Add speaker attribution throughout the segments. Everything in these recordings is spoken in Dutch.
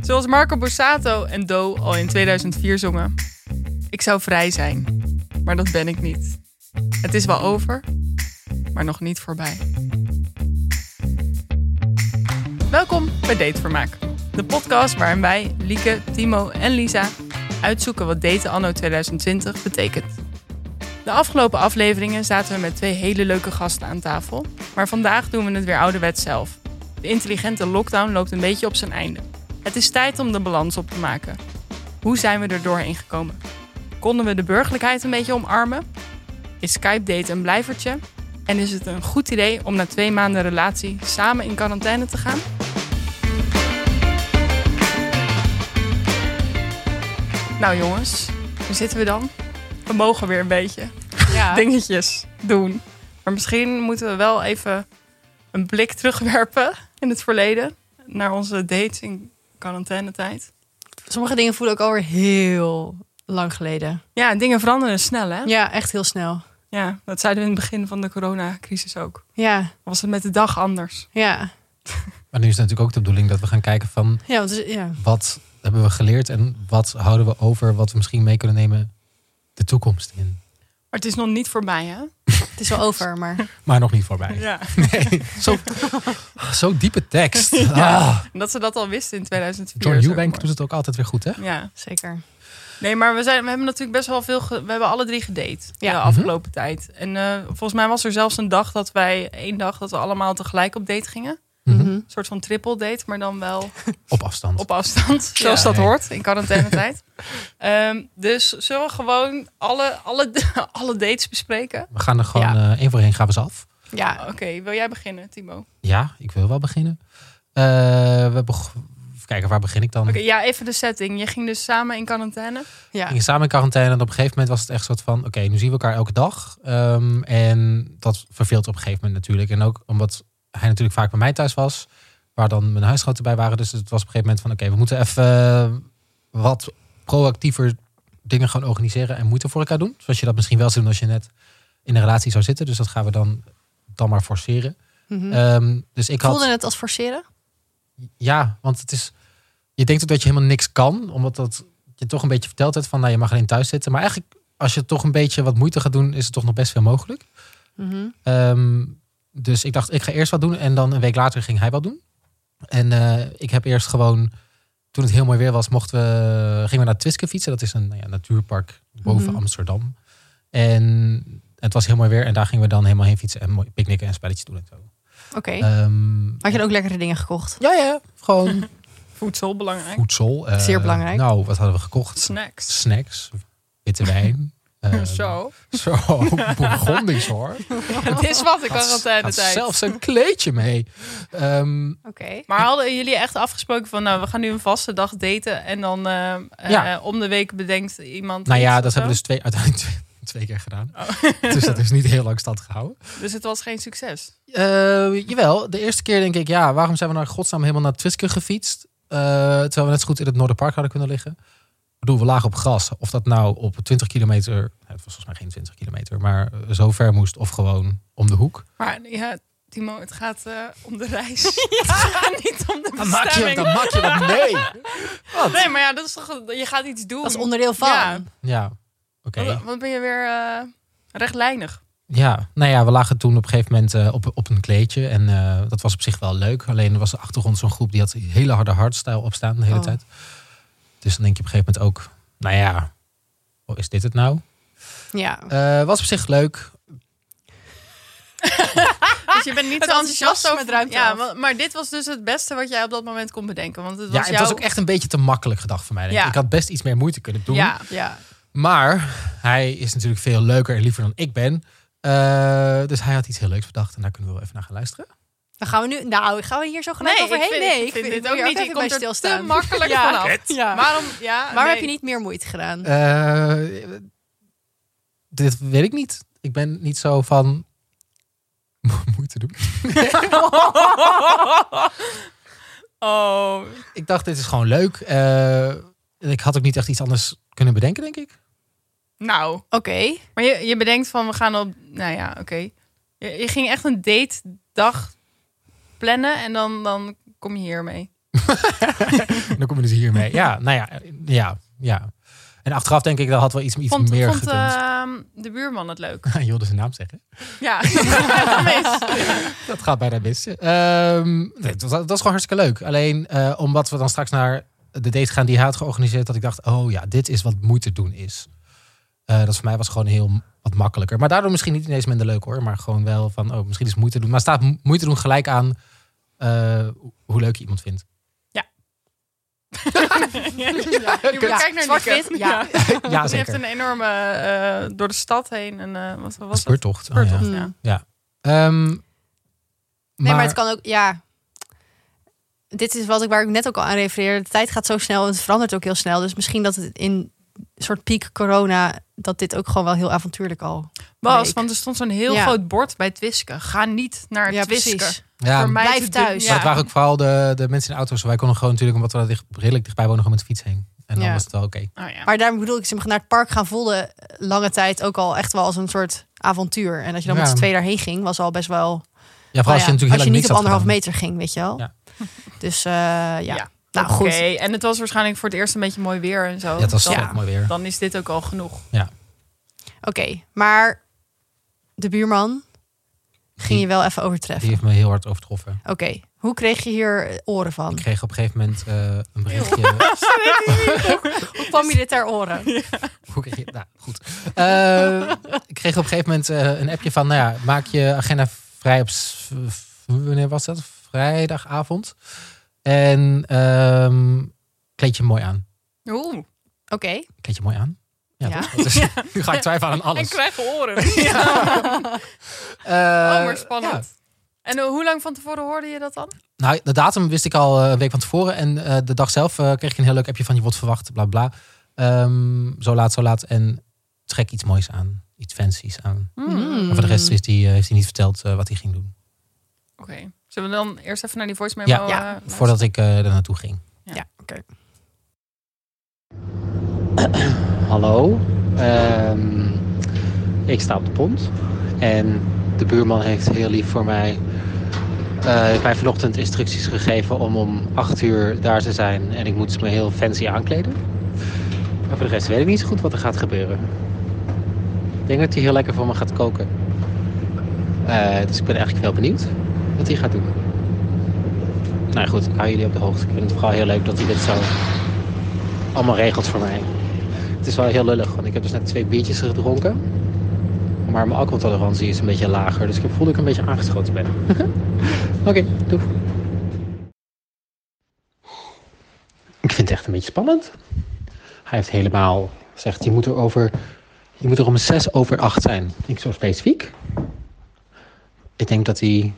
Speaker 1: Zoals Marco Borsato en Do al in 2004 zongen. Ik zou vrij zijn, maar dat ben ik niet. Het is wel over, maar nog niet voorbij. Welkom bij Datevermaak. De podcast waarin wij, Lieke, Timo en Lisa uitzoeken wat daten anno 2020 betekent. De afgelopen afleveringen zaten we met twee hele leuke gasten aan tafel. Maar vandaag doen we het weer ouderwets zelf. De intelligente lockdown loopt een beetje op zijn einde. Het is tijd om de balans op te maken. Hoe zijn we er doorheen gekomen? Konden we de burgerlijkheid een beetje omarmen? Is Skype date een blijvertje? En is het een goed idee om na twee maanden relatie samen in quarantaine te gaan? Nou jongens, hoe zitten we dan? We mogen weer een beetje
Speaker 2: Ja.
Speaker 1: dingetjes doen. Maar misschien moeten we wel even een blik terugwerpen in het verleden. Naar onze dates in quarantainetijd.
Speaker 2: Sommige dingen voelen ook alweer heel lang geleden.
Speaker 1: Ja, dingen veranderen snel hè?
Speaker 2: Ja, echt heel snel.
Speaker 1: Ja, dat zeiden we in het begin van de coronacrisis ook.
Speaker 2: Ja,
Speaker 1: Was het met de dag anders?
Speaker 2: ja.
Speaker 3: Maar nu is het natuurlijk ook de bedoeling dat we gaan kijken van
Speaker 2: Ja, want het is- ja.
Speaker 3: wat hebben we geleerd en wat houden we over, wat we misschien mee kunnen nemen de toekomst in.
Speaker 1: Maar het is nog niet voorbij hè?
Speaker 2: het is wel over, maar
Speaker 3: Maar nog niet voorbij.
Speaker 1: Ja.
Speaker 3: Nee, zo, zo diepe tekst. Ah,
Speaker 1: En dat ze dat al wisten in 2004.
Speaker 3: John
Speaker 1: is ook
Speaker 3: Eubank
Speaker 1: mooi.
Speaker 3: doet het ook altijd weer goed, hè?
Speaker 1: Ja.
Speaker 2: zeker.
Speaker 1: Nee, maar we, zijn, we hebben natuurlijk best wel veel. ge- we hebben alle drie gedate
Speaker 2: Ja.
Speaker 3: Mhm.
Speaker 1: de afgelopen tijd. En eh, volgens mij was er zelfs een dag dat wij één dag dat we allemaal tegelijk op date gingen.
Speaker 3: Mhm.
Speaker 2: Mhm.
Speaker 1: Een soort van triple date, maar dan wel
Speaker 3: Op afstand.
Speaker 1: op afstand, zoals dat
Speaker 3: Nee.
Speaker 1: hoort in quarantainetijd. Ehm dus zullen we gewoon alle, alle, alle dates bespreken?
Speaker 3: We gaan er gewoon
Speaker 2: Ja.
Speaker 3: eh, één voor één gaan we ze af.
Speaker 2: Ja,
Speaker 1: Oké, wil jij beginnen, Timo? Oké,
Speaker 3: Ja, ik wil wel beginnen. Eh, we beg- even kijken, waar begin ik dan?
Speaker 1: ja, even de setting. Je ging dus samen in quarantaine.
Speaker 2: ja.
Speaker 3: gingen samen in quarantaine. En op een gegeven moment was het echt soort van... oké, nu zien we elkaar elke dag. Ehm, en dat verveelt op een gegeven moment natuurlijk. En ook omdat hij natuurlijk vaak bij mij thuis was... waar dan mijn huisgenoten bij waren. Dus het was op een gegeven moment van... oké, we moeten even wat proactiever dingen gaan organiseren... en moeite voor elkaar doen. Zoals je dat misschien wel zou doen als je net in een relatie zou zitten. Dus dat gaan we dan, dan maar forceren.
Speaker 2: Mhm.
Speaker 3: Ehm, dus ik had...
Speaker 2: Voelde het als forceren?
Speaker 3: Ja, want het is. Je denkt ook dat je helemaal niks kan, omdat dat je toch een beetje verteld hebt van, nou, je mag alleen thuis zitten. Maar eigenlijk, als je toch een beetje wat moeite gaat doen, is er toch nog best veel mogelijk.
Speaker 2: Mhm.
Speaker 3: Ehm, dus ik dacht, ik ga eerst wat doen en dan een week later ging hij wat doen. En eh, ik heb eerst gewoon, toen het heel mooi weer was, mochten we, gingen we naar Twiske fietsen. Dat is een nou ja, natuurpark boven
Speaker 2: Mhm.
Speaker 3: Amsterdam. En het was heel mooi weer en daar gingen we dan helemaal heen fietsen en mooi picknicken en spelletjes doen en zo.
Speaker 2: Oké.
Speaker 3: Ehm,
Speaker 2: Had je dan ook lekkere dingen gekocht?
Speaker 3: ja, ja, gewoon
Speaker 1: Voedsel, belangrijk.
Speaker 3: voedsel. eh,
Speaker 2: Zeer belangrijk.
Speaker 3: Nou, wat hadden we gekocht?
Speaker 1: Snacks.
Speaker 3: Snacks, witte wijn. eh,
Speaker 1: Zo.
Speaker 3: Zo, bourgondisch hoor.
Speaker 1: Het is wat in
Speaker 3: Had
Speaker 1: quarantainetijd.
Speaker 3: zelfs een kleedje mee. Ehm,
Speaker 2: Oké.
Speaker 1: Maar hadden jullie echt afgesproken van, nou, we gaan nu een vaste dag daten en dan eh, eh,
Speaker 3: Ja.
Speaker 1: om de week bedenkt iemand.
Speaker 3: nou
Speaker 1: iets
Speaker 3: ja,
Speaker 1: of
Speaker 3: dat
Speaker 1: zo? Oh.
Speaker 3: hebben we dus twee, uiteindelijk twee, twee keer gedaan. Dus dat is niet heel lang stand gehouden.
Speaker 1: Dus het was geen succes.
Speaker 3: Eh, jawel, de eerste keer denk ik, ja, waarom zijn we nou in godsnaam helemaal naar Twiske gefietst? Eh, terwijl we net zo goed in het Noorderpark hadden kunnen liggen. Ik bedoel, we lagen op gras. Of dat nou op 20 kilometer, nou, het was volgens mij geen 20 kilometer, maar eh, zo ver moest. Of gewoon om de hoek.
Speaker 1: Maar ja, Timo, het gaat eh, om de reis. Het gaat niet om de
Speaker 3: Dan maak je,
Speaker 1: bestemming.
Speaker 3: dan maak je dat mee. Wat?
Speaker 1: Nee, maar ja, dat is toch, je gaat iets doen.
Speaker 2: Dat is onderdeel van.
Speaker 1: Ja.
Speaker 3: Ja, oké.
Speaker 1: Want dan ben je weer eh, rechtlijnig.
Speaker 3: Ja, nou ja, we lagen toen op een gegeven moment eh, op, op een kleedje. En eh, dat was op zich wel leuk. Alleen er was de achtergrond zo'n groep die had een hele harde hardstyle opstaan de hele
Speaker 2: Oh.
Speaker 3: tijd. Dus dan denk je op een gegeven moment ook, nou ja, oh, is dit het nou?
Speaker 2: Ja.
Speaker 3: Eh, was op zich leuk.
Speaker 1: Dus je bent niet
Speaker 2: Het
Speaker 1: zo enthousiast
Speaker 2: enthousiasme
Speaker 1: over.
Speaker 2: druipt
Speaker 1: ja,
Speaker 2: af.
Speaker 1: maar, maar dit was dus het beste wat jij op dat moment kon bedenken. Want het
Speaker 3: ja,
Speaker 1: was
Speaker 3: het
Speaker 1: jouw...
Speaker 3: was ook echt een beetje te makkelijk gedacht voor mij. denk ik.
Speaker 1: Ja.
Speaker 3: Ik had best iets meer moeite kunnen doen.
Speaker 1: Ja.
Speaker 2: Ja.
Speaker 3: Maar hij is natuurlijk veel leuker en liever dan ik ben. Eh, dus hij had iets heel leuks bedacht en daar kunnen we wel even naar gaan luisteren.
Speaker 2: Dan gaan we nu... Nou, gaan we hier zo gelijk
Speaker 1: Nee, ik
Speaker 2: overheen?
Speaker 1: vind-
Speaker 2: nee,
Speaker 1: ik vind
Speaker 2: wil
Speaker 1: dit
Speaker 2: hier
Speaker 1: ook niet. Je
Speaker 2: even bij
Speaker 1: komt er te
Speaker 2: stilstaan.
Speaker 1: makkelijk
Speaker 2: Ja.
Speaker 1: vanaf.
Speaker 2: Ja.
Speaker 1: Waarom, ja,
Speaker 2: Waarom
Speaker 1: nee.
Speaker 2: heb je niet meer moeite gedaan?
Speaker 3: Eh, dit weet ik niet. Ik ben niet zo van mo- moeite doen.
Speaker 1: Oh,
Speaker 3: Ik dacht, dit is gewoon leuk. Eh, ik had ook niet echt iets anders kunnen bedenken, denk ik.
Speaker 1: nou.
Speaker 2: Oké.
Speaker 1: Maar je, je bedenkt van, we gaan op... Nou ja, oké. Je, je ging echt een date dag plannen en dan, dan kom je hiermee.
Speaker 3: dan kom je dus hiermee. Ja, nou ja, ja, ja. En achteraf denk ik, dat had wel iets, iets
Speaker 1: Vond,
Speaker 3: meer
Speaker 1: vond eh,
Speaker 3: gekund.
Speaker 1: ehm, de buurman het leuk?
Speaker 3: Je wilde zijn naam zeggen.
Speaker 1: Ja, dat gaat mis.
Speaker 3: Dat gaat bijna mis. Ehm, nee, dat, dat is gewoon hartstikke leuk. Alleen eh, omdat we dan straks naar de date gaan die hij had georganiseerd, dat ik dacht, oh ja, dit is wat moeite doen is. Eh, dat voor mij was gewoon heel m- wat makkelijker. Maar daardoor misschien niet ineens minder leuk hoor. Maar gewoon wel van, oh, misschien is moeite doen. Maar staat mo- moeite doen gelijk aan eh, hoe leuk je iemand vindt.
Speaker 1: Ja, je
Speaker 2: Ja,
Speaker 1: kijkt naar
Speaker 2: zwart-wit,
Speaker 1: Nikke.
Speaker 2: ja.
Speaker 3: Ja,
Speaker 1: Die heeft
Speaker 3: zeker.
Speaker 1: een enorme, eh, door de stad heen. En, eh, wat was dat?
Speaker 3: Speurtocht. Oh, ja.
Speaker 1: Speurtocht,
Speaker 2: ja.
Speaker 1: ja.
Speaker 2: Mm.
Speaker 3: Ehm,
Speaker 2: Nee, maar het kan ook, ja. Dit is wat ik waar ik net ook al aan refereer. De tijd gaat zo snel en het verandert ook heel snel. Dus misschien dat het in een soort piek corona, dat dit ook gewoon wel heel avontuurlijk al.
Speaker 1: Was,
Speaker 2: Leek.
Speaker 1: want er stond zo'n heel
Speaker 2: Ja.
Speaker 1: groot bord bij Twisken. Ga niet naar
Speaker 2: ja,
Speaker 1: Twisken.
Speaker 2: precies.
Speaker 3: ja,
Speaker 1: Voor mij
Speaker 2: blijf
Speaker 1: te
Speaker 2: thuis.
Speaker 1: doen,
Speaker 3: Maar
Speaker 1: ja.
Speaker 3: het waren ook vooral de, de mensen in de auto's. Wij konden gewoon natuurlijk, omdat we daar dicht, redelijk dichtbij wonen, gewoon met de fiets heen. En dan
Speaker 2: Ja.
Speaker 3: was het wel oké.
Speaker 1: Oh, ja.
Speaker 2: Maar daarom bedoel ik, zeg maar, naar het park gaan voelde lange tijd ook al echt wel als een soort avontuur. En dat je dan
Speaker 3: Ja.
Speaker 2: met z'n twee daarheen ging, was al best wel...
Speaker 3: Ja, vooral als je
Speaker 2: nou ja, als
Speaker 3: natuurlijk heel
Speaker 2: je
Speaker 3: lang
Speaker 2: niet op
Speaker 3: niks had
Speaker 2: anderhalf
Speaker 3: gedaan.
Speaker 2: meter ging, weet je wel.
Speaker 3: Ja.
Speaker 2: Dus eh, ja.
Speaker 1: Ja.
Speaker 2: Nou
Speaker 1: Oké,
Speaker 2: goed.
Speaker 1: en het was waarschijnlijk voor het eerst een beetje mooi weer en zo.
Speaker 3: Ja, het was
Speaker 1: dan,
Speaker 3: toch ook mooi weer.
Speaker 1: dan is dit ook al genoeg.
Speaker 2: Oké, maar de buurman ging je wel even
Speaker 3: Die
Speaker 2: overtreffen.
Speaker 3: heeft me heel hard overtroffen.
Speaker 2: Oké, hoe kreeg je hier eh, oren
Speaker 3: Ik
Speaker 2: van?
Speaker 3: kreeg op een gegeven moment eh, een berichtje.
Speaker 2: Hoe kwam je dit ter oren?
Speaker 3: Hoe kreeg je- nou, goed. Eh, ik kreeg op een gegeven moment eh, een appje van, nou ja, maak je agenda vrij op, s- v- wanneer was dat? Vrijdagavond. En ehm, kleed je mooi aan.
Speaker 1: Oeh,
Speaker 2: Oké,
Speaker 3: Kleed je mooi aan? Ja.
Speaker 2: Ja.
Speaker 3: toch? Dus nu ga ik twijfelen aan
Speaker 1: en
Speaker 3: alles.
Speaker 1: krijgen oren.
Speaker 3: Eh,
Speaker 2: Eh,
Speaker 1: oh, maar spannend. En eh, hoe lang van tevoren hoorde je dat dan?
Speaker 3: Nou, de datum wist ik al eh, een week van tevoren. En eh, de dag zelf eh, kreeg ik een heel leuk appje van je wordt verwacht, bla bla. Ehm, zo laat, zo laat. En trek iets moois aan. Iets fancies aan.
Speaker 2: Mm.
Speaker 1: Hmm.
Speaker 3: Maar voor de rest is die, eh, heeft hij niet verteld eh, wat hij ging doen.
Speaker 1: Oké, zullen we dan eerst even naar die voicemail
Speaker 3: Ja.
Speaker 1: eh,
Speaker 2: Ja,
Speaker 1: luisteren?
Speaker 3: Voordat ik eh er naartoe ging.
Speaker 1: Ja.
Speaker 2: ja, oké.
Speaker 4: Hallo, ehm, ik sta op de pont en de buurman heeft heel lief voor mij. eh, heeft mij vanochtend instructies gegeven om om 8 uur daar te zijn en ik moet me heel fancy aankleden. Maar voor de rest weet ik niet zo goed wat er gaat gebeuren. Ik denk dat hij heel lekker voor me gaat koken. Eh, dus ik ben eigenlijk wel benieuwd wat hij gaat doen. Nou goed, ik hou jullie op de hoogte. Ik vind het vooral heel leuk dat hij dit zo allemaal regelt voor mij. Het is wel heel lullig, want ik heb dus net twee biertjes gedronken. Maar mijn alcoholtolerantie is een beetje lager, dus ik heb- voel dat ik een beetje aangeschoten ben. Oké, doei. Ik vind het echt een beetje spannend. Hij heeft helemaal gezegd, je moet er, over, je moet er om zes over acht zijn. Ik zo specifiek. Ik denk dat hij...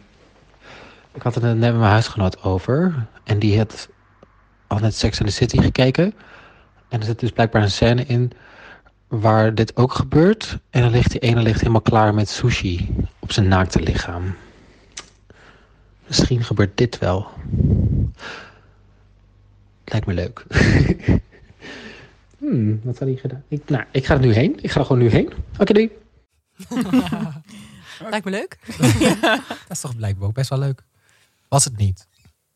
Speaker 4: Ik had het net met mijn huisgenoot over. En die had al net Sex and the City gekeken. En er zit dus blijkbaar een scène in waar dit ook gebeurt. En dan ligt die ene ligt helemaal klaar met sushi op zijn naakte lichaam. Misschien gebeurt dit wel. Lijkt me leuk. hmm, wat had hij gedaan? Ik, nou, ik ga er nu heen. Ik ga er gewoon nu heen. Oké, doei.
Speaker 2: Lijkt me leuk.
Speaker 3: Dat is toch blijkbaar ook best wel leuk. Was het niet?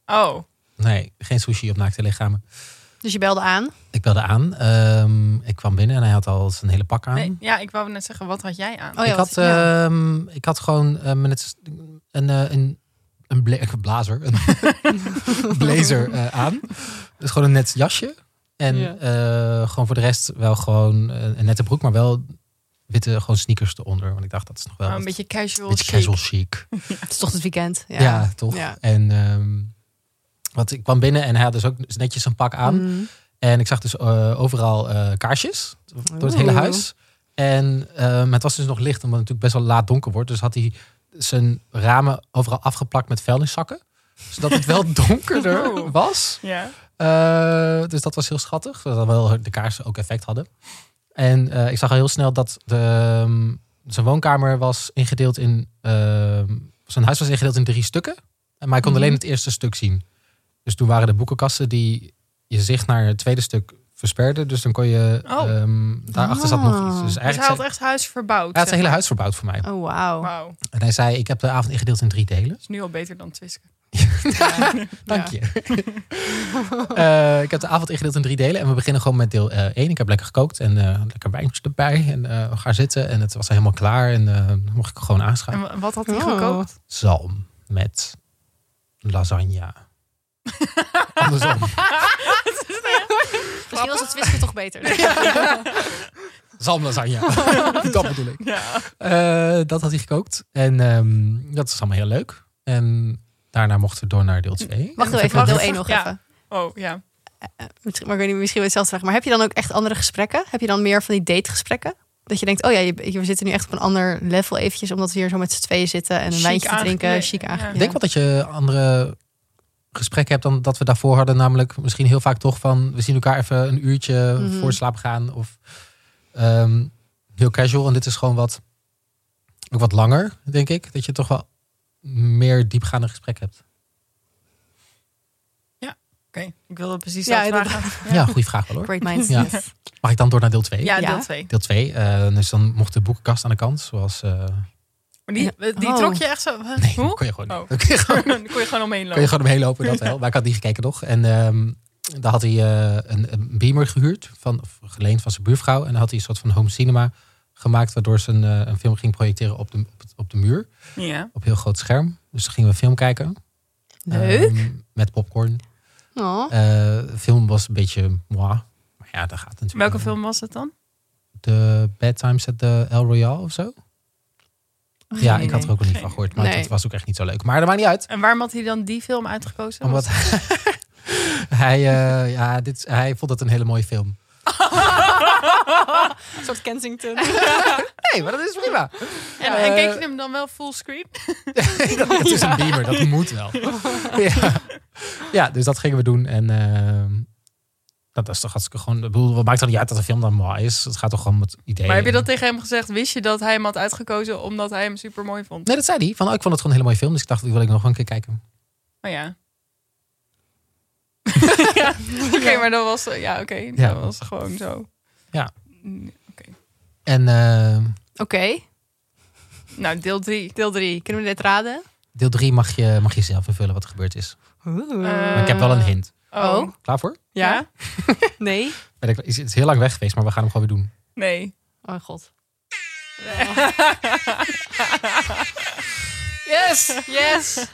Speaker 1: Oh,
Speaker 3: Nee, geen sushi op naakte lichamen.
Speaker 2: Dus je belde aan.
Speaker 3: Ik belde aan. ehm, ik kwam binnen en hij had al zijn hele pak aan.
Speaker 1: nee. Ja, ik wou net zeggen, wat had jij aan?
Speaker 2: Oh ja,
Speaker 3: ik, had,
Speaker 2: wat- ja.
Speaker 3: ehm, ik had gewoon ehm, net een, eh, een, een bla- een blazer, een blazer eh, aan. Dus gewoon een net jasje. En
Speaker 1: Ja.
Speaker 3: eh, gewoon voor de rest wel gewoon eh, een nette broek, maar wel witte gewoon sneakers eronder. Want ik dacht dat is nog wel
Speaker 2: Ah,
Speaker 1: Oh, een
Speaker 3: wat-
Speaker 1: beetje casual,
Speaker 3: beetje
Speaker 1: chic.
Speaker 3: casual chic.
Speaker 2: Het is toch het weekend. Ja,
Speaker 3: Ja, toch?
Speaker 2: Ja.
Speaker 3: En ehm, want ik kwam binnen en hij had dus ook netjes een pak aan.
Speaker 2: Mm.
Speaker 3: En ik zag dus eh, overal eh, kaarsjes door het hele
Speaker 2: Oeh.
Speaker 3: huis. En ehm, het was dus nog licht, omdat het natuurlijk best wel laat donker wordt. Dus had hij zijn ramen overal afgeplakt met vuilniszakken. Zodat het wel donkerder
Speaker 1: Oeh.
Speaker 3: was.
Speaker 1: Ja.
Speaker 3: Eh, dus dat was heel schattig. Dat wel de kaarsen ook effect hadden. En eh, ik zag al heel snel dat de, ehm, zijn woonkamer was ingedeeld in... ehm, zijn huis was ingedeeld in drie stukken. Maar ik kon
Speaker 1: Mhm.
Speaker 3: alleen het eerste stuk zien. Dus toen waren de boekenkasten die je zicht naar het tweede stuk versperden. Dus dan kon je...
Speaker 1: Oh.
Speaker 3: ehm, daarachter zat nog iets.
Speaker 2: Ah.
Speaker 3: Dus
Speaker 1: Dus hij
Speaker 3: eigenlijk
Speaker 1: had
Speaker 3: zei-
Speaker 1: echt huis verbouwd.
Speaker 3: hij had zijn hele
Speaker 1: zeg
Speaker 3: huis verbouwd voor mij.
Speaker 2: Oh,
Speaker 1: maar.
Speaker 2: wauw.
Speaker 1: Wauw,
Speaker 3: En hij zei, ik heb de avond ingedeeld in drie delen.
Speaker 1: is nu al beter dan Twisken.
Speaker 3: Dank je. Eh, ik heb de avond ingedeeld in drie delen. En we beginnen gewoon met deel 1. Ik heb lekker gekookt en eh, lekker wijntje erbij. En eh, we gaan zitten. En het was helemaal klaar. En eh, dan mocht ik gewoon aanschuiven.
Speaker 1: En wa- wat had hij
Speaker 2: Oh.
Speaker 1: gekookt?
Speaker 3: Zalm met lasagne. Andersom.
Speaker 2: Misschien was het twisken toch beter.
Speaker 3: Zalm lasagne. dat bedoel ik.
Speaker 1: Ja.
Speaker 3: Eh, dat had hij gekookt. En ehm, dat was allemaal heel leuk. En daarna mochten we door naar deel 2.
Speaker 2: Wacht nog even,
Speaker 1: Wacht
Speaker 2: deel
Speaker 1: even.
Speaker 2: 1 nog
Speaker 1: Ja.
Speaker 2: even.
Speaker 1: Oh, ja.
Speaker 2: Misschien, maar ik weet niet, misschien wel hetzelfde vraag. Maar heb je dan ook echt andere gesprekken? Heb je dan meer van die dategesprekken? Dat je denkt, oh ja, je, je- we zitten nu echt op een ander level eventjes. Omdat we hier zo met z'n tweeën zitten en een
Speaker 1: Chic
Speaker 2: wijntje te drinken.
Speaker 1: aangekleed,
Speaker 2: Chic
Speaker 1: ja.
Speaker 2: aangekleed.
Speaker 3: Ik denk wel dat je andere gesprekken hebt dan dat we daarvoor hadden. Namelijk misschien heel vaak toch van... we zien elkaar even een uurtje
Speaker 2: Mhm.
Speaker 3: voor slaap gaan. Of ehm, heel casual. En dit is gewoon wat, ook wat langer, denk ik. Dat je toch wel meer diepgaande gesprek hebt.
Speaker 1: Oké, ik wilde precies
Speaker 2: Ja,
Speaker 1: dat
Speaker 2: dat-
Speaker 1: vragen.
Speaker 3: Ja, goede vraag wel hoor.
Speaker 2: Great minds.
Speaker 3: Ja. Mag ik dan door naar deel 2?
Speaker 1: Ja,
Speaker 2: Ja.
Speaker 1: deel 2.
Speaker 3: Deel 2. dus dan mocht de boekenkast aan de kant. Zoals... eh,
Speaker 1: Maar die, eh, die
Speaker 2: Oh.
Speaker 1: trok je echt zo... huh?
Speaker 3: nee, dat
Speaker 1: Hoe?
Speaker 3: kon je gewoon
Speaker 1: Oh.
Speaker 3: niet. Dat kon je gewoon
Speaker 1: Dan kon je gewoon omheen
Speaker 2: Nou.
Speaker 3: Kun je
Speaker 1: lopen.
Speaker 3: gewoon omheen lopen, dat wel. Maar ik had niet gekeken nog. En ehm, daar had hij eh, een, een beamer gehuurd, van, of geleend van zijn buurvrouw. En daar had hij een soort van home cinema gemaakt, waardoor ze een, eh, een film ging projecteren op de, op, het- op de muur.
Speaker 1: Ja.
Speaker 3: Op een heel groot scherm. Dus toen gingen we een film kijken.
Speaker 2: Leuk.
Speaker 3: Ehm, met popcorn.
Speaker 2: Oh.
Speaker 3: Eh, de film was een beetje moi. Maar ja, daar gaat het natuurlijk.
Speaker 1: Welke
Speaker 3: om.
Speaker 1: film was het dan?
Speaker 3: De Bad Times at the El Royale of zo? ja, ik had er ook nog niet van gehoord. Maar
Speaker 2: Nee.
Speaker 3: het was ook echt niet zo leuk. Maar dat maakt niet uit.
Speaker 1: En waarom had hij dan die film uitgekozen?
Speaker 3: Omdat hij, eh, ja, dit, hij vond dat een hele mooie film.
Speaker 2: Een soort Kensington.
Speaker 3: Nee, maar dat is prima.
Speaker 1: en, en keek je hem dan wel full screen?
Speaker 3: Het is een beamer, dat moet wel. ja. ja, dus dat gingen we doen. En ehm, nou, dat is toch hartstikke gewoon... Ik bedoel, wat maakt dan niet uit dat een film dan mooi is? Het gaat toch gewoon om het idee.
Speaker 1: Maar heb je dat tegen hem gezegd? Wist je dat hij hem had uitgekozen omdat hij hem super mooi vond?
Speaker 3: Nee, dat zei hij. Van, oh, ik vond het gewoon een hele mooie film. Dus ik dacht, die wil ik nog een keer kijken.
Speaker 1: Oh ja. ja. Oké, maar dat was... eh, Ja, oké.
Speaker 3: Ja.
Speaker 1: Dat was gewoon zo.
Speaker 3: Ja.
Speaker 1: Mm,
Speaker 3: En ehm,
Speaker 2: Oké,
Speaker 1: Nou, deel 3.
Speaker 2: deel 3. Kunnen we dit raden?
Speaker 3: deel 3 mag je, mag je zelf invullen wat er gebeurd is. Maar ik heb wel een hint.
Speaker 1: Oh.
Speaker 2: Oh.
Speaker 3: Klaar voor?
Speaker 1: Ja?
Speaker 2: Ja? Nee?
Speaker 3: Ben ik, is- het is heel lang weg geweest, maar we gaan hem gewoon weer doen.
Speaker 1: Nee.
Speaker 2: Oh god.
Speaker 1: Yes!
Speaker 2: Yes!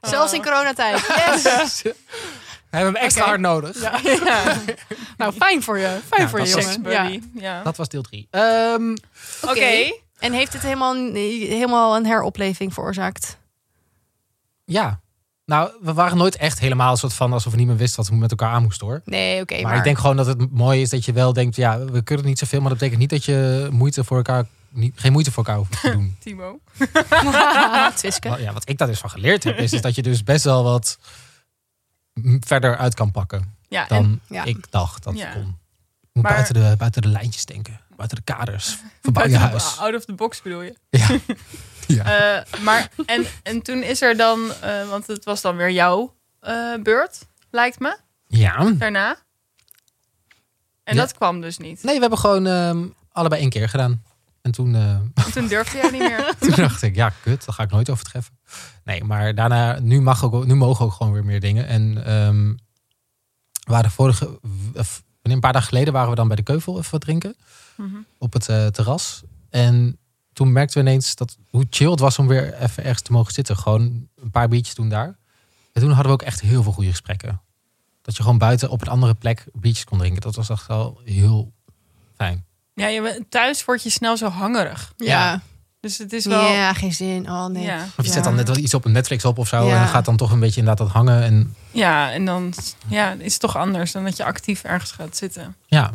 Speaker 2: Zelfs in coronatijd. Yes!
Speaker 3: We hebben hem extra
Speaker 2: Oké.
Speaker 3: hard nodig.
Speaker 1: Ja. ja.
Speaker 2: Nou, fijn voor je. Fijn
Speaker 3: Ja,
Speaker 2: voor je,
Speaker 3: dat is
Speaker 1: Sex
Speaker 2: jongen. Ja.
Speaker 1: buddy. Ja.
Speaker 3: Dat was deel Ehm, 3.
Speaker 2: Oké. En heeft dit helemaal, helemaal een heropleving veroorzaakt?
Speaker 3: ja. Nou, we waren nooit echt helemaal een soort van alsof we niet meer wisten wat we met elkaar aan moesten hoor.
Speaker 2: Nee, oké.
Speaker 3: maar, ik denk gewoon dat het mooi is dat je wel denkt, ja, we kunnen niet zoveel, maar dat betekent niet dat je moeite voor elkaar, niet, geen moeite voor elkaar hoeft te doen.
Speaker 1: Timo.
Speaker 2: Twisken.
Speaker 3: Wel, ja, wat ik daar dus van geleerd heb, is, is dat je dus best wel wat m- verder uit kan pakken
Speaker 1: Ja, en
Speaker 3: dan
Speaker 2: ja.
Speaker 3: ik dacht dat
Speaker 1: Ja.
Speaker 3: ik kon. Moet
Speaker 1: Maar-
Speaker 3: buiten, de, buiten de lijntjes denken, buiten de kaders, verbouw je
Speaker 1: buiten-
Speaker 3: huis.
Speaker 1: Out of the box bedoel je?
Speaker 3: Ja. ja.
Speaker 1: Eh, maar, en, en toen is er dan... eh, want het was dan weer jouw eh, beurt, lijkt me,
Speaker 3: ja.
Speaker 1: daarna. En
Speaker 3: Ja.
Speaker 1: dat kwam dus niet.
Speaker 3: Nee, we hebben gewoon ehm, allebei één keer gedaan. En toen, eh,
Speaker 1: Toen durfde jij niet meer.
Speaker 3: toen dacht ik, ja, kut, dat ga ik nooit overtreffen. Nee, maar daarna, nu, mag ook, nu mogen ook gewoon weer meer dingen. En ehm, we waren vorige, of, een paar dagen geleden waren we dan bij de Keuvel even wat drinken.
Speaker 1: Mhm.
Speaker 3: Op het eh, terras. En toen merkten we ineens dat, hoe chill het was om weer even ergens te mogen zitten. Gewoon een paar biertjes toen daar. En toen hadden we ook echt heel veel goede gesprekken. Dat je gewoon buiten op een andere plek biertjes kon drinken. Dat was echt wel heel fijn.
Speaker 1: Ja, je, bent- thuis word je snel zo hangerig.
Speaker 2: Ja.
Speaker 1: Dus het is
Speaker 2: Ja.
Speaker 1: wel...
Speaker 2: geen zin. Oh nee.
Speaker 1: Ja.
Speaker 3: Of je
Speaker 2: Ja.
Speaker 3: zet dan net wel iets op een Netflix op of zo.
Speaker 2: Ja.
Speaker 3: En dan gaat dan toch een beetje inderdaad dat hangen. En
Speaker 1: ja, en dan ja, is het toch anders dan dat je actief ergens gaat zitten.
Speaker 3: ja,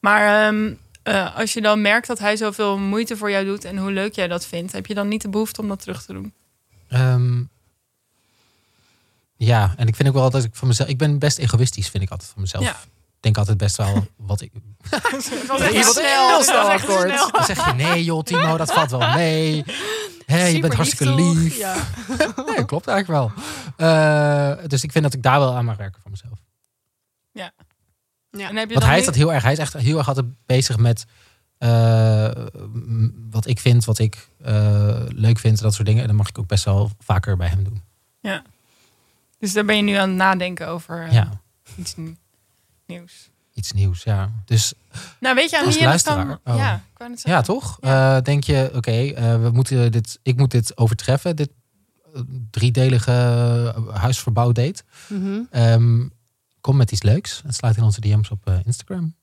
Speaker 1: Maar ehm, eh, als je dan merkt dat hij zoveel moeite voor jou doet... en hoe leuk jij dat vindt, heb je dan niet de behoefte om dat terug te doen?
Speaker 3: ehm, ja. En ik vind ook wel dat ik van mezelf... Ik ben best egoïstisch, vind ik altijd van mezelf.
Speaker 1: Ja.
Speaker 3: Ik denk altijd best wel wat ik...
Speaker 2: echt
Speaker 3: Iemand
Speaker 2: snel,
Speaker 3: heel
Speaker 2: dit was echt
Speaker 3: akkoord.
Speaker 2: snel.
Speaker 3: Dan zeg je, nee joh Timo, dat valt wel mee. Hé, je bent hartstikke
Speaker 2: Superlief,
Speaker 3: lief.
Speaker 2: toch? Ja.
Speaker 3: Nee, klopt eigenlijk wel. Eh, dus ik vind dat ik daar wel aan mag werken van mezelf.
Speaker 1: En heb je
Speaker 3: Want
Speaker 1: dan
Speaker 3: hij is
Speaker 1: nu-
Speaker 3: dat heel erg. Hij is echt heel erg altijd bezig met eh, m- wat ik vind, wat ik eh, leuk vind, dat soort dingen. En dat mag ik ook best wel vaker bij hem doen.
Speaker 1: Dus daar ben je nu aan het nadenken over eh,
Speaker 3: Ja,
Speaker 1: iets n- nieuws.
Speaker 3: iets nieuws, ja. Dus
Speaker 1: Nou, weet je aan
Speaker 3: Als
Speaker 1: wie je dat kan...
Speaker 3: luisteraar, oh.
Speaker 1: Ja, ik wou net
Speaker 3: ja,
Speaker 1: zeggen.
Speaker 3: toch? Eh, denk je, oké, eh, we moeten dit, ik moet dit overtreffen, dit eh, driedelige huisverbouwdate.
Speaker 2: Mhm.
Speaker 3: Ehm, kom met iets leuks. Het sluit in onze DM's op eh, Instagram.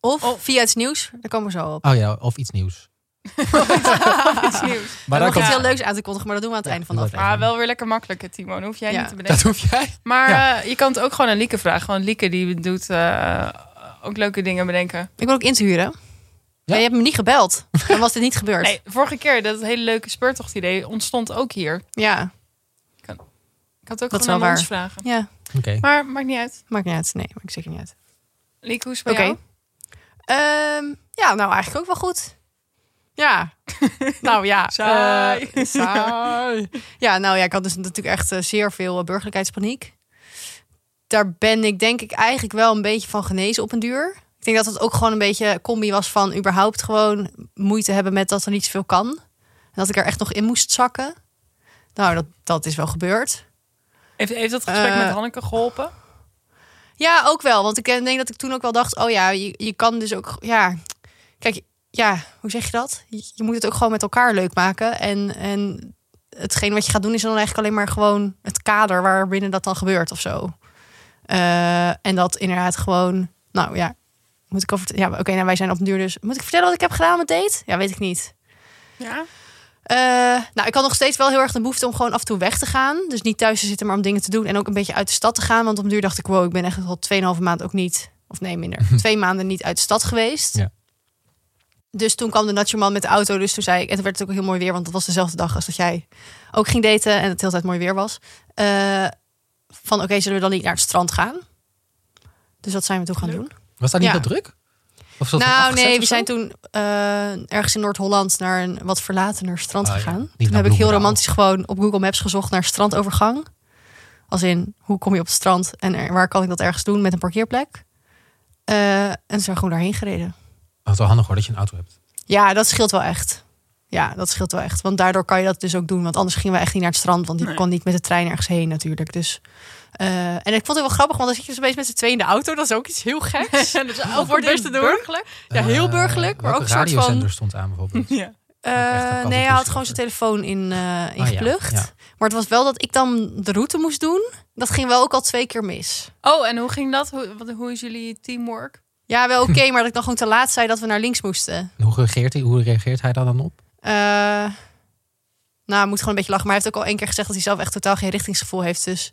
Speaker 2: Of
Speaker 1: Oh.
Speaker 2: via het nieuws, daar komen we zo op.
Speaker 3: Oh ja, of iets nieuws.
Speaker 1: Iets nieuws.
Speaker 2: Maar
Speaker 3: daar
Speaker 2: nog iets
Speaker 1: komt-
Speaker 2: heel leuks aan te kondigen, maar dat doen we aan het
Speaker 3: Ja,
Speaker 2: einde van de aflevering.
Speaker 3: dat wordt
Speaker 1: Maar wel weer lekker makkelijk, hè, Timo. Dan hoef jij
Speaker 2: Ja.
Speaker 1: niet te bedenken.
Speaker 3: Dat hoef jij.
Speaker 1: Maar
Speaker 3: Ja.
Speaker 1: eh, je kan het ook gewoon aan Lieke vragen. Want Lieke die doet eh, ook leuke dingen bedenken.
Speaker 2: Ik wil ook inhuren. Ja? Je hebt me niet gebeld. Dan was dit niet gebeurd.
Speaker 1: Nee, vorige keer dat hele leuke speurtocht idee ontstond ook hier.
Speaker 2: Ja.
Speaker 1: Ik had het ook
Speaker 2: Dat
Speaker 1: gewoon
Speaker 2: is wel
Speaker 1: aan
Speaker 2: waar.
Speaker 1: ons vragen.
Speaker 2: ja,
Speaker 3: Oké.
Speaker 1: Maar maakt niet uit.
Speaker 2: maakt niet uit. Nee, maakt zeker niet uit.
Speaker 1: Lieke, hoe is het
Speaker 2: Oké.
Speaker 1: bij jou?
Speaker 2: Ehm, ja, nou eigenlijk ook wel goed. Ja. nou ja.
Speaker 1: Saai.
Speaker 2: eh, saai. Ja, nou ja, ik had dus natuurlijk echt eh, zeer veel eh, burgerlijkheidspaniek. Daar ben ik denk ik eigenlijk wel een beetje van genezen op een duur. Ik denk dat het ook gewoon een beetje een combi was van überhaupt gewoon moeite hebben met dat er niet zoveel kan. En dat ik er echt nog in moest zakken. Nou, dat, dat is wel gebeurd.
Speaker 1: Heeft, heeft dat gesprek
Speaker 2: Eh,
Speaker 1: met Hanneke geholpen?
Speaker 2: Ja, ook wel. Want ik eh, denk dat ik toen ook wel dacht: oh ja, je, je kan dus ook. Ja, kijk, ja, hoe zeg je dat? Je, je moet het ook gewoon met elkaar leuk maken. En, en hetgeen wat je gaat doen is dan eigenlijk alleen maar gewoon het kader waarbinnen dat dan gebeurt of zo. Eh, en dat inderdaad gewoon. Nou ja, moet ik over. Ja, oké, nou, wij zijn op een duur dus. Moet ik vertellen wat ik heb gedaan met date? Ja, weet ik niet.
Speaker 1: Ja.
Speaker 2: Eh, nou, ik had nog steeds wel heel erg de behoefte om gewoon af en toe weg te gaan. Dus niet thuis te zitten, maar om dingen te doen. En ook een beetje uit de stad te gaan. Want op een duur dacht ik, wow, ik ben echt al 2,5 maand ook niet... Of nee, minder. twee maanden niet uit de stad geweest.
Speaker 3: Ja.
Speaker 2: Dus toen kwam de Nachoman met de auto. Dus toen zei ik, en toen werd het ook heel mooi weer. Want het was dezelfde dag als dat jij ook ging daten. En het de hele tijd mooi weer was. Eh, van, oké, zullen we dan niet naar het strand gaan? Dus dat zijn we toen gaan
Speaker 1: Leuk.
Speaker 2: doen.
Speaker 3: Was dat niet
Speaker 2: Ja.
Speaker 3: wel druk? Of is dat wel
Speaker 2: Nou
Speaker 3: afgezet
Speaker 2: nee,
Speaker 3: of
Speaker 2: we
Speaker 3: zo?
Speaker 2: zijn toen eh, ergens in Noord-Holland naar een wat verlatener strand
Speaker 3: Ah, ja.
Speaker 2: gegaan.
Speaker 3: Niet
Speaker 2: Toen
Speaker 3: naar
Speaker 2: heb ik heel
Speaker 3: Bloemendaal.
Speaker 2: romantisch gewoon op Google Maps gezocht naar strandovergang. Als in, hoe kom je op het strand en er- waar kan ik dat ergens doen met een parkeerplek? Eh, en toen zijn we gewoon daarheen gereden.
Speaker 3: Oh, het is wel handig hoor dat je een auto hebt.
Speaker 2: Ja, dat scheelt wel echt. Ja, dat scheelt wel echt. Want daardoor kan je dat dus ook doen. Want anders gingen we echt niet naar het strand. Want die
Speaker 1: Nee.
Speaker 2: kon niet met de trein ergens heen natuurlijk. Dus, eh, en ik vond het wel grappig. Want dan zit je dus opeens met z'n tweeën in de auto. Dat is ook iets heel geks.
Speaker 1: dus
Speaker 2: Om voor dit te doen. Ja, heel
Speaker 3: Eh,
Speaker 2: burgerlijk, maar
Speaker 3: welke
Speaker 2: ook een soort van-
Speaker 3: radiozender stond aan bijvoorbeeld.
Speaker 1: Ja.
Speaker 2: Eh,
Speaker 3: Ook echt een kant
Speaker 2: nee, hij had
Speaker 3: toestel.
Speaker 2: gewoon zijn telefoon in, eh
Speaker 3: ja,
Speaker 2: ingeplucht.
Speaker 3: ja.
Speaker 2: Maar het was wel dat ik dan de route moest doen. Dat ging wel ook al twee keer mis.
Speaker 1: Oh, en hoe ging dat? Hoe, wat, hoe is jullie teamwork?
Speaker 2: Ja, wel oké, maar dat ik dan gewoon te laat zei dat we naar links moesten.
Speaker 3: En Hoe reageert hij, hoe reageert hij daar dan op?
Speaker 2: Eh nou, ik moet gewoon een beetje lachen. Maar hij heeft ook al één keer gezegd dat hij zelf echt totaal geen richtingsgevoel heeft. Dus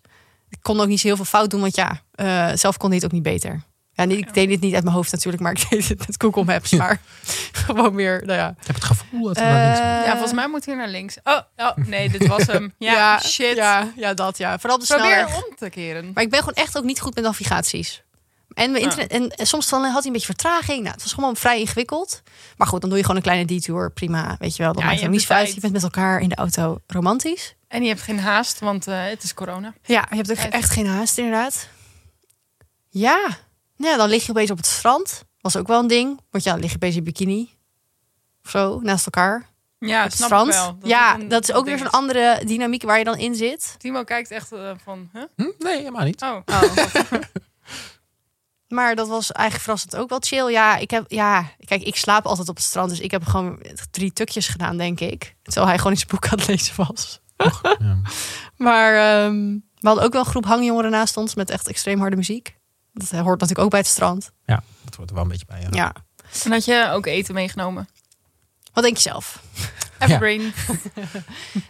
Speaker 2: ik kon ook niet zo heel veel fout doen. Want ja, eh, zelf kon hij het ook niet beter. Ja, nee, ik deed dit niet uit mijn hoofd natuurlijk, maar ik deed het met Google Maps. Maar gewoon meer, nou ja.
Speaker 3: Ik heb het gevoel dat hij naar links
Speaker 2: Eh,
Speaker 3: moet.
Speaker 1: ja, volgens mij moet hij naar links. Oh, oh nee, dit was hem. Ja, shit.
Speaker 2: Ja, ja, dat ja. Vooral op de snelweg.
Speaker 1: Probeer om te keren.
Speaker 2: Maar ik ben gewoon echt ook niet goed met navigaties. En, mijn internet, en, en soms dan had hij een beetje vertraging. Nou, het was gewoon vrij ingewikkeld. Maar goed, dan doe je gewoon een kleine detour. Prima, weet je wel. Dat
Speaker 1: Ja,
Speaker 2: maakt
Speaker 1: je hebt
Speaker 2: ook niet
Speaker 1: de
Speaker 2: zo uit.
Speaker 1: tijd.
Speaker 2: Je bent met elkaar in de auto romantisch.
Speaker 1: En je hebt geen haast, want eh, het is corona.
Speaker 2: Ja, je hebt ook
Speaker 1: Echt.
Speaker 2: echt geen haast inderdaad. Ja, nou ja, dan lig je opeens op het strand. Was ook wel een ding. Want ja, dan lig je opeens in bikini. Of zo, naast elkaar.
Speaker 1: Ja,
Speaker 2: op het
Speaker 1: snap
Speaker 2: strand.
Speaker 1: ik wel.
Speaker 2: ja,
Speaker 1: het een
Speaker 2: dat is ook
Speaker 1: ding
Speaker 2: weer zo'n andere dynamiek waar je dan in zit.
Speaker 1: Timo kijkt echt eh, van, huh?
Speaker 3: Hm? Nee, helemaal niet.
Speaker 1: Oh,
Speaker 2: Maar dat was eigenlijk verrassend ook wel chill. Ja, ik heb, ja, kijk, ik slaap altijd op het strand. Dus ik heb gewoon drie tukjes gedaan, denk ik. Terwijl hij gewoon in zijn boek aan het lezen was.
Speaker 3: Ja.
Speaker 2: Maar ehm, we hadden ook wel een groep hangjongeren naast ons met echt extreem harde muziek. Dat eh, hoort natuurlijk ook bij het strand.
Speaker 3: Ja, dat hoort er wel een beetje bij. Ja.
Speaker 2: Ja.
Speaker 1: en had je ook eten meegenomen?
Speaker 2: Wat denk je zelf?
Speaker 1: Evergreen.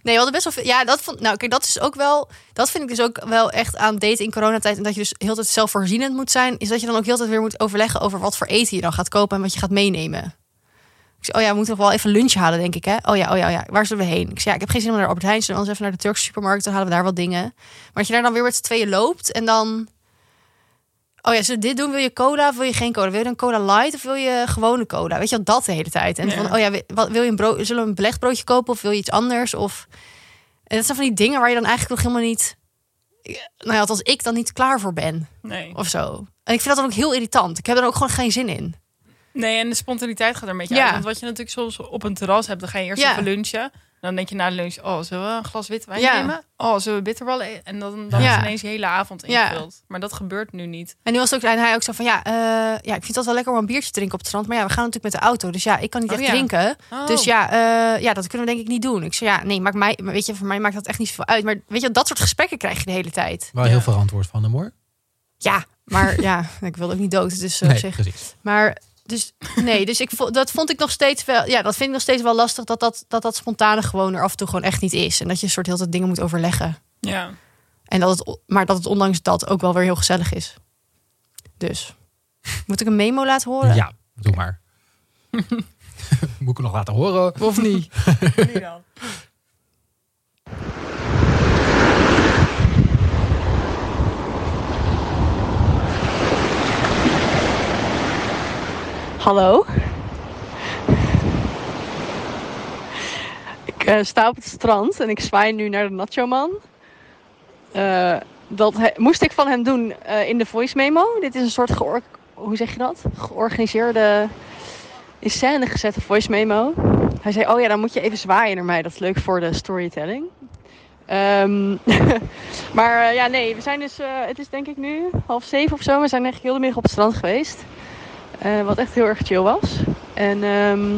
Speaker 2: Nee, we hadden best wel veel. Ja, dat vond. Nou, kijk, dat is ook wel. Dat vind ik dus ook wel echt aan daten in coronatijd. En dat je dus heel de tijd zelfvoorzienend moet zijn. Is dat je dan ook heel de tijd weer moet overleggen over wat voor eten je dan gaat kopen en wat je gaat meenemen. Ik zei, oh ja, we moeten nog wel even lunch halen, denk ik. Hè? Oh ja, oh ja, oh ja. Waar zullen we heen? Ik zei, ja, ik heb geen zin om naar de Albert Heijn. Zullen we anders even naar de Turkse supermarkt? Dan halen we daar wat dingen. Maar dat je daar dan weer met z'n tweeën loopt en dan... Oh ja, zullen we dit doen? Wil je cola of wil je geen cola? Wil je dan cola light of wil je gewone cola? Weet je wel, dat de hele tijd. En
Speaker 1: Ja.
Speaker 2: van, oh ja, wi- wat, wil je een brood, zullen we een belegd broodje kopen of wil je iets anders? Of... En dat zijn van die dingen waar je dan eigenlijk nog helemaal niet... Nou ja, althans ik dan niet klaar voor ben
Speaker 1: Nee.
Speaker 2: of zo. En ik vind dat dan ook heel irritant. Ik heb er ook gewoon geen zin in.
Speaker 1: nee, en de spontaniteit gaat er een beetje
Speaker 2: Ja.
Speaker 1: uit. Want wat je natuurlijk soms op een terras hebt, dan ga je eerst
Speaker 2: Ja.
Speaker 1: even lunchen. dan denk je na de lunch, oh, zullen we een glas witte wijn
Speaker 2: Ja.
Speaker 1: nemen? Oh, zullen we bitterballen? e- En dan, dan
Speaker 2: Ja.
Speaker 1: is ineens je hele avond
Speaker 2: Ja.
Speaker 1: ingevuld. Maar dat gebeurt nu niet.
Speaker 2: En nu was het ook, en hij ook zo van, ja, eh, ja, ik vind het wel lekker om een biertje te drinken op het strand. Maar ja, we gaan natuurlijk met de auto. Dus ja, ik kan niet
Speaker 1: Oh,
Speaker 2: echt
Speaker 1: ja.
Speaker 2: drinken.
Speaker 1: Oh.
Speaker 2: Dus ja, eh, ja, dat kunnen we denk ik niet doen. Ik zei, ja, nee, maakt mij, maar weet je, voor mij maakt dat echt niet zoveel uit. Maar weet je, dat soort gesprekken krijg je de hele tijd.
Speaker 3: Wel
Speaker 1: Ja.
Speaker 3: heel verantwoord van hem hoor.
Speaker 2: Ja, maar ja, ik wil ook niet dood. Dus eh, op
Speaker 3: nee,
Speaker 2: zich.
Speaker 3: precies.
Speaker 2: Maar dus nee, dus ik vo- dat vond ik nog steeds wel. Ja, dat vind ik nog steeds wel lastig dat dat, dat dat spontane gewoon er af en toe gewoon echt niet is. En dat je een soort heel tijd dingen moet overleggen.
Speaker 1: Ja.
Speaker 2: En dat het, o- maar dat het ondanks dat ook wel weer heel gezellig is. Dus moet ik een memo laten horen?
Speaker 3: Ja, doe maar. Moet ik hem nog laten horen?
Speaker 2: Of niet?
Speaker 1: Nu dan.
Speaker 5: Hallo. Ik eh, sta op het strand en ik zwaai nu naar de Nacho Man. Eh, dat he- moest ik van hem doen eh, in de voice memo. Dit is een soort geor- hoe zeg je dat? georganiseerde, in scène gezette voice memo. Hij zei: Oh ja, dan moet je even zwaaien naar mij. Dat is leuk voor de storytelling. Ehm, maar eh, ja, nee, we zijn dus, eh, het is denk ik nu half zeven of zo. We zijn eigenlijk heel de middag op het strand geweest. Eh, wat echt heel erg chill was. En, ehm,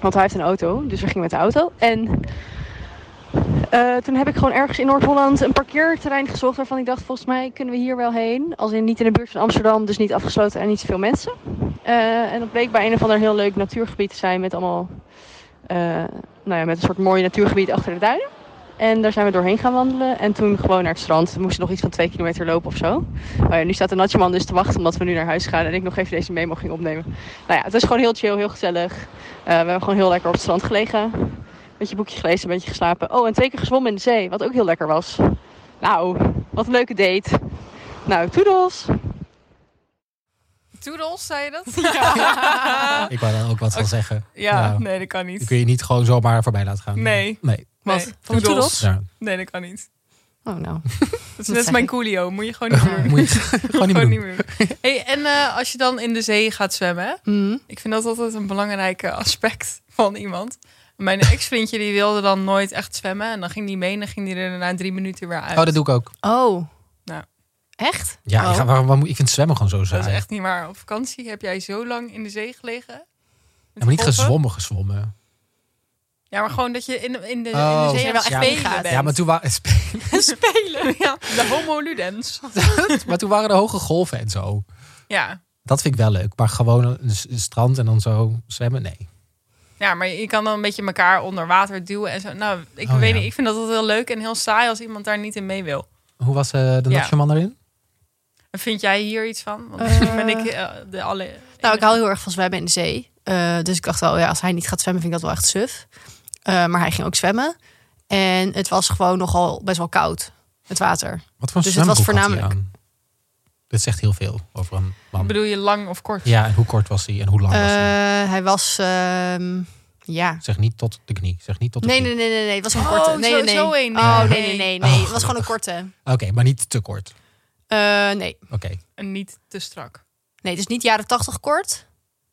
Speaker 5: want hij heeft een auto, dus we gingen met de auto. En eh, toen heb ik gewoon ergens in Noord-Holland een parkeerterrein gezocht waarvan ik dacht, volgens mij kunnen we hier wel heen. Als in niet in de buurt van Amsterdam, dus niet afgesloten en niet zoveel mensen. Eh, en dat bleek bij een of ander heel leuk natuurgebied te zijn met allemaal, eh, nou ja, met een soort mooi natuurgebied achter de duinen. En daar zijn we doorheen gaan wandelen. En toen gewoon naar het strand. We moesten nog iets van twee kilometer lopen of zo. Oh ja, nu staat de Natjeman dus te wachten omdat we nu naar huis gaan en ik nog even deze memo ging opnemen. Nou ja, het is gewoon heel chill, heel gezellig. Eh, we hebben gewoon heel lekker op het strand gelegen. Een beetje boekje gelezen, een beetje geslapen. Oh, en twee keer gezwommen in de zee, wat ook heel lekker was. Nou, wat een leuke date. Nou, toedels!
Speaker 1: Toedels, zei je dat? Ah.
Speaker 3: Ik wou daar ook wat van zeggen.
Speaker 1: Ja,
Speaker 3: Nou,
Speaker 1: nee, dat kan niet.
Speaker 3: Die kun je niet gewoon zomaar voorbij laten gaan.
Speaker 1: Nee.
Speaker 3: Nee.
Speaker 2: Wat?
Speaker 1: Nee.
Speaker 2: Van de
Speaker 1: Toedels?
Speaker 2: toedels?
Speaker 3: Ja.
Speaker 1: Nee, dat kan niet.
Speaker 2: Oh nou.
Speaker 1: Dat is
Speaker 2: Dat
Speaker 1: net
Speaker 2: zeg
Speaker 1: mijn
Speaker 2: ik.
Speaker 1: coolio. Moet je gewoon niet doen.
Speaker 3: Moet je het gewoon niet meer
Speaker 1: Gewoon
Speaker 3: doen.
Speaker 1: niet meer doen. Hey, en eh, als je dan in de zee gaat zwemmen, hè?
Speaker 2: Mm.
Speaker 1: ik vind dat altijd een belangrijk eh, aspect van iemand. Mijn ex-vriendje die wilde dan nooit echt zwemmen. En dan ging die mee en dan ging die er na drie minuten weer uit.
Speaker 3: Oh, dat doe ik ook.
Speaker 2: Oh.
Speaker 1: Nou.
Speaker 2: Echt?
Speaker 3: Ja,
Speaker 2: Oh.
Speaker 3: ik, ga, waarom, waarom moet- ik vind zwemmen gewoon zo
Speaker 1: Dat
Speaker 3: saai.
Speaker 1: is echt niet waar. Op vakantie heb jij zo lang in de zee gelegen. Met
Speaker 3: Ja, maar niet
Speaker 1: golven.
Speaker 3: gezwommen, gezwommen.
Speaker 1: Ja, maar gewoon dat je in, in, de,
Speaker 3: Oh.
Speaker 1: in de
Speaker 3: Dat
Speaker 1: zee
Speaker 2: je
Speaker 1: aan
Speaker 2: wel
Speaker 1: het
Speaker 2: echt
Speaker 1: spelen
Speaker 2: meegaat.
Speaker 1: bent.
Speaker 3: Ja, maar toen, wa-
Speaker 1: spelen. Ja, de homo ludens.
Speaker 3: maar toen waren er hoge golven en zo.
Speaker 1: Ja.
Speaker 3: Dat vind ik wel leuk. Maar gewoon een, s- een strand en dan zo zwemmen, nee.
Speaker 1: ja, maar je kan dan een beetje elkaar onder water duwen en zo. Nou, ik
Speaker 3: Oh,
Speaker 1: weet
Speaker 3: ja.
Speaker 1: niet. Ik vind dat altijd heel leuk en heel saai als iemand daar niet in mee wil.
Speaker 3: Hoe was eh, de
Speaker 1: Ja.
Speaker 3: Nachtjaman erin?
Speaker 1: En vind jij hier iets van? Want
Speaker 2: Eh.
Speaker 1: misschien ben ik eh, de alle.
Speaker 2: Nou, ik hou heel erg van zwemmen in de zee. Eh, dus ik dacht wel, ja, als hij niet gaat zwemmen, vind ik dat wel echt suf. Eh, maar hij ging ook zwemmen. En het was gewoon nogal best wel koud, het water.
Speaker 3: Wat voor een
Speaker 2: Dus het was
Speaker 3: zwembroek had hij
Speaker 2: voornamelijk-
Speaker 3: aan? Dit zegt heel veel over een man.
Speaker 1: Bedoel je lang of kort?
Speaker 3: Ja, en hoe kort was hij en hoe lang was hij?
Speaker 2: Eh, hij was, ehm, ja.
Speaker 3: Zeg niet tot de knie. Zeg niet tot de
Speaker 2: Nee,
Speaker 3: knie.
Speaker 2: nee, nee, nee, nee. Het was een
Speaker 1: Oh,
Speaker 2: korte. Nee,
Speaker 1: zo-
Speaker 2: nee, nee.
Speaker 1: zo een.
Speaker 2: Oh, nee,
Speaker 1: Nee.
Speaker 2: nee, nee. nee. Het
Speaker 3: Oh,
Speaker 2: was
Speaker 3: gelukkig.
Speaker 2: gewoon een korte.
Speaker 3: Oké, maar niet te kort.
Speaker 2: Eh, nee.
Speaker 3: Oké.
Speaker 1: En niet te strak.
Speaker 2: Nee, het is niet jaren tachtig kort.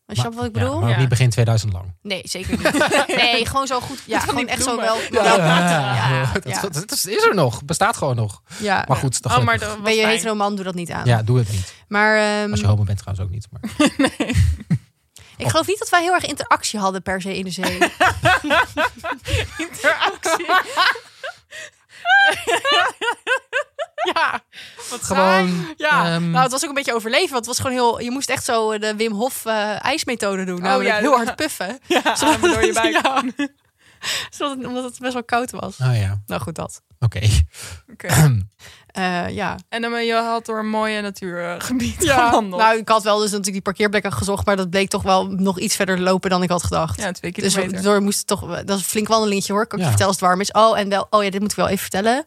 Speaker 2: Als je
Speaker 3: Maar-
Speaker 2: snapt wat ik
Speaker 3: ja,
Speaker 2: bedoel?
Speaker 3: maar ook
Speaker 1: Ja.
Speaker 3: niet begin 2000 lang.
Speaker 2: Nee, zeker niet. Nee, gewoon zo goed. Ja,
Speaker 1: Van die
Speaker 2: gewoon echt zo wel.
Speaker 1: bloemen.
Speaker 2: wel-
Speaker 3: Ja,
Speaker 2: Ja,
Speaker 3: dat,
Speaker 2: ja.
Speaker 3: dat- dat is er nog. Bestaat gewoon nog.
Speaker 2: ja.
Speaker 3: Maar goed, dat
Speaker 1: Oh, maar
Speaker 3: gelukkig.
Speaker 1: dat
Speaker 2: Ben je
Speaker 1: was
Speaker 2: hetero man, doe dat niet aan.
Speaker 3: Ja, doe het niet.
Speaker 2: Maar ehm,
Speaker 3: Als je homo bent trouwens ook niet. Maar...
Speaker 2: ik geloof niet dat wij heel erg interactie hadden per se in de zee.
Speaker 1: fijn. interactie. ja, wat saai.
Speaker 3: Gewoon,
Speaker 2: Ja,
Speaker 3: ehm,
Speaker 2: nou het was ook een beetje overleven. Want het was gewoon heel. Je moest echt zo eh, de Wim Hof eh, ijsmethode doen. Namelijk
Speaker 1: ja.
Speaker 2: heel hard puffen.
Speaker 1: Ja, ademen door je buik.
Speaker 2: Ja. Zodat het- omdat het best wel koud was.
Speaker 3: Ah ja,
Speaker 2: Nou goed, dat.
Speaker 3: oké.
Speaker 1: Oké.
Speaker 2: Eh, ja.
Speaker 1: En dan ben je had door een mooie natuurgebied gewandeld.
Speaker 2: Nou, ik had wel dus natuurlijk die parkeerplekken gezocht. Maar dat bleek toch wel nog iets verder lopen dan ik had gedacht.
Speaker 1: ja, twee
Speaker 2: Dus
Speaker 1: kilometer.
Speaker 2: we- door moesten toch, dat is een flink wandelingetje hoor. Kan ik
Speaker 3: Ja.
Speaker 2: je vertellen als het warm is. Oh, en wel, oh ja, dit moet ik wel even vertellen.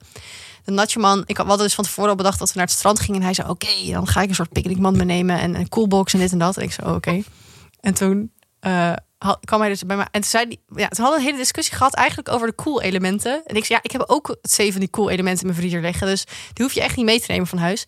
Speaker 2: De Natjeman, ik had we hadden dus van tevoren al bedacht dat we naar het strand gingen. En hij zei, oké, dan ga ik een soort picknickmand meenemen en een coolbox en dit en dat. En ik zei, oh, oké. En toen eh, had- kwam hij dus bij mij. En toen, zei die, ja, toen hadden we een hele discussie gehad eigenlijk over de cool elementen. En ik zei, ja, ik heb ook zeven van die cool elementen in mijn vriezer liggen. Dus die hoef je echt niet mee te nemen van huis.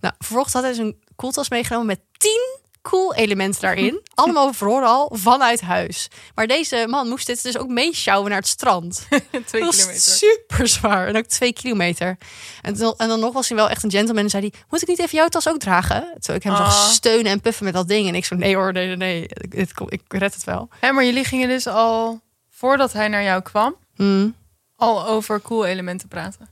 Speaker 2: Nou, vervolgens had hij dus een koeltas meegenomen met tien cool element daarin. Allemaal vooral vanuit huis. Maar deze man moest dit dus ook meesjouwen naar het strand.
Speaker 1: Twee
Speaker 2: dat
Speaker 1: kilometer.
Speaker 2: was super zwaar. En ook twee kilometer. En, toen- en dan nog was hij wel echt een gentleman. En zei hij, moet ik niet even jouw tas ook dragen? Terwijl ik hem
Speaker 1: Ah.
Speaker 2: zag steunen en puffen met dat ding. En ik zo, nee hoor, nee, nee, nee. Ik, dit kom- ik red het wel.
Speaker 1: Hé, maar jullie gingen dus al, voordat hij naar jou kwam,
Speaker 2: Hmm.
Speaker 1: al over cool elementen praten.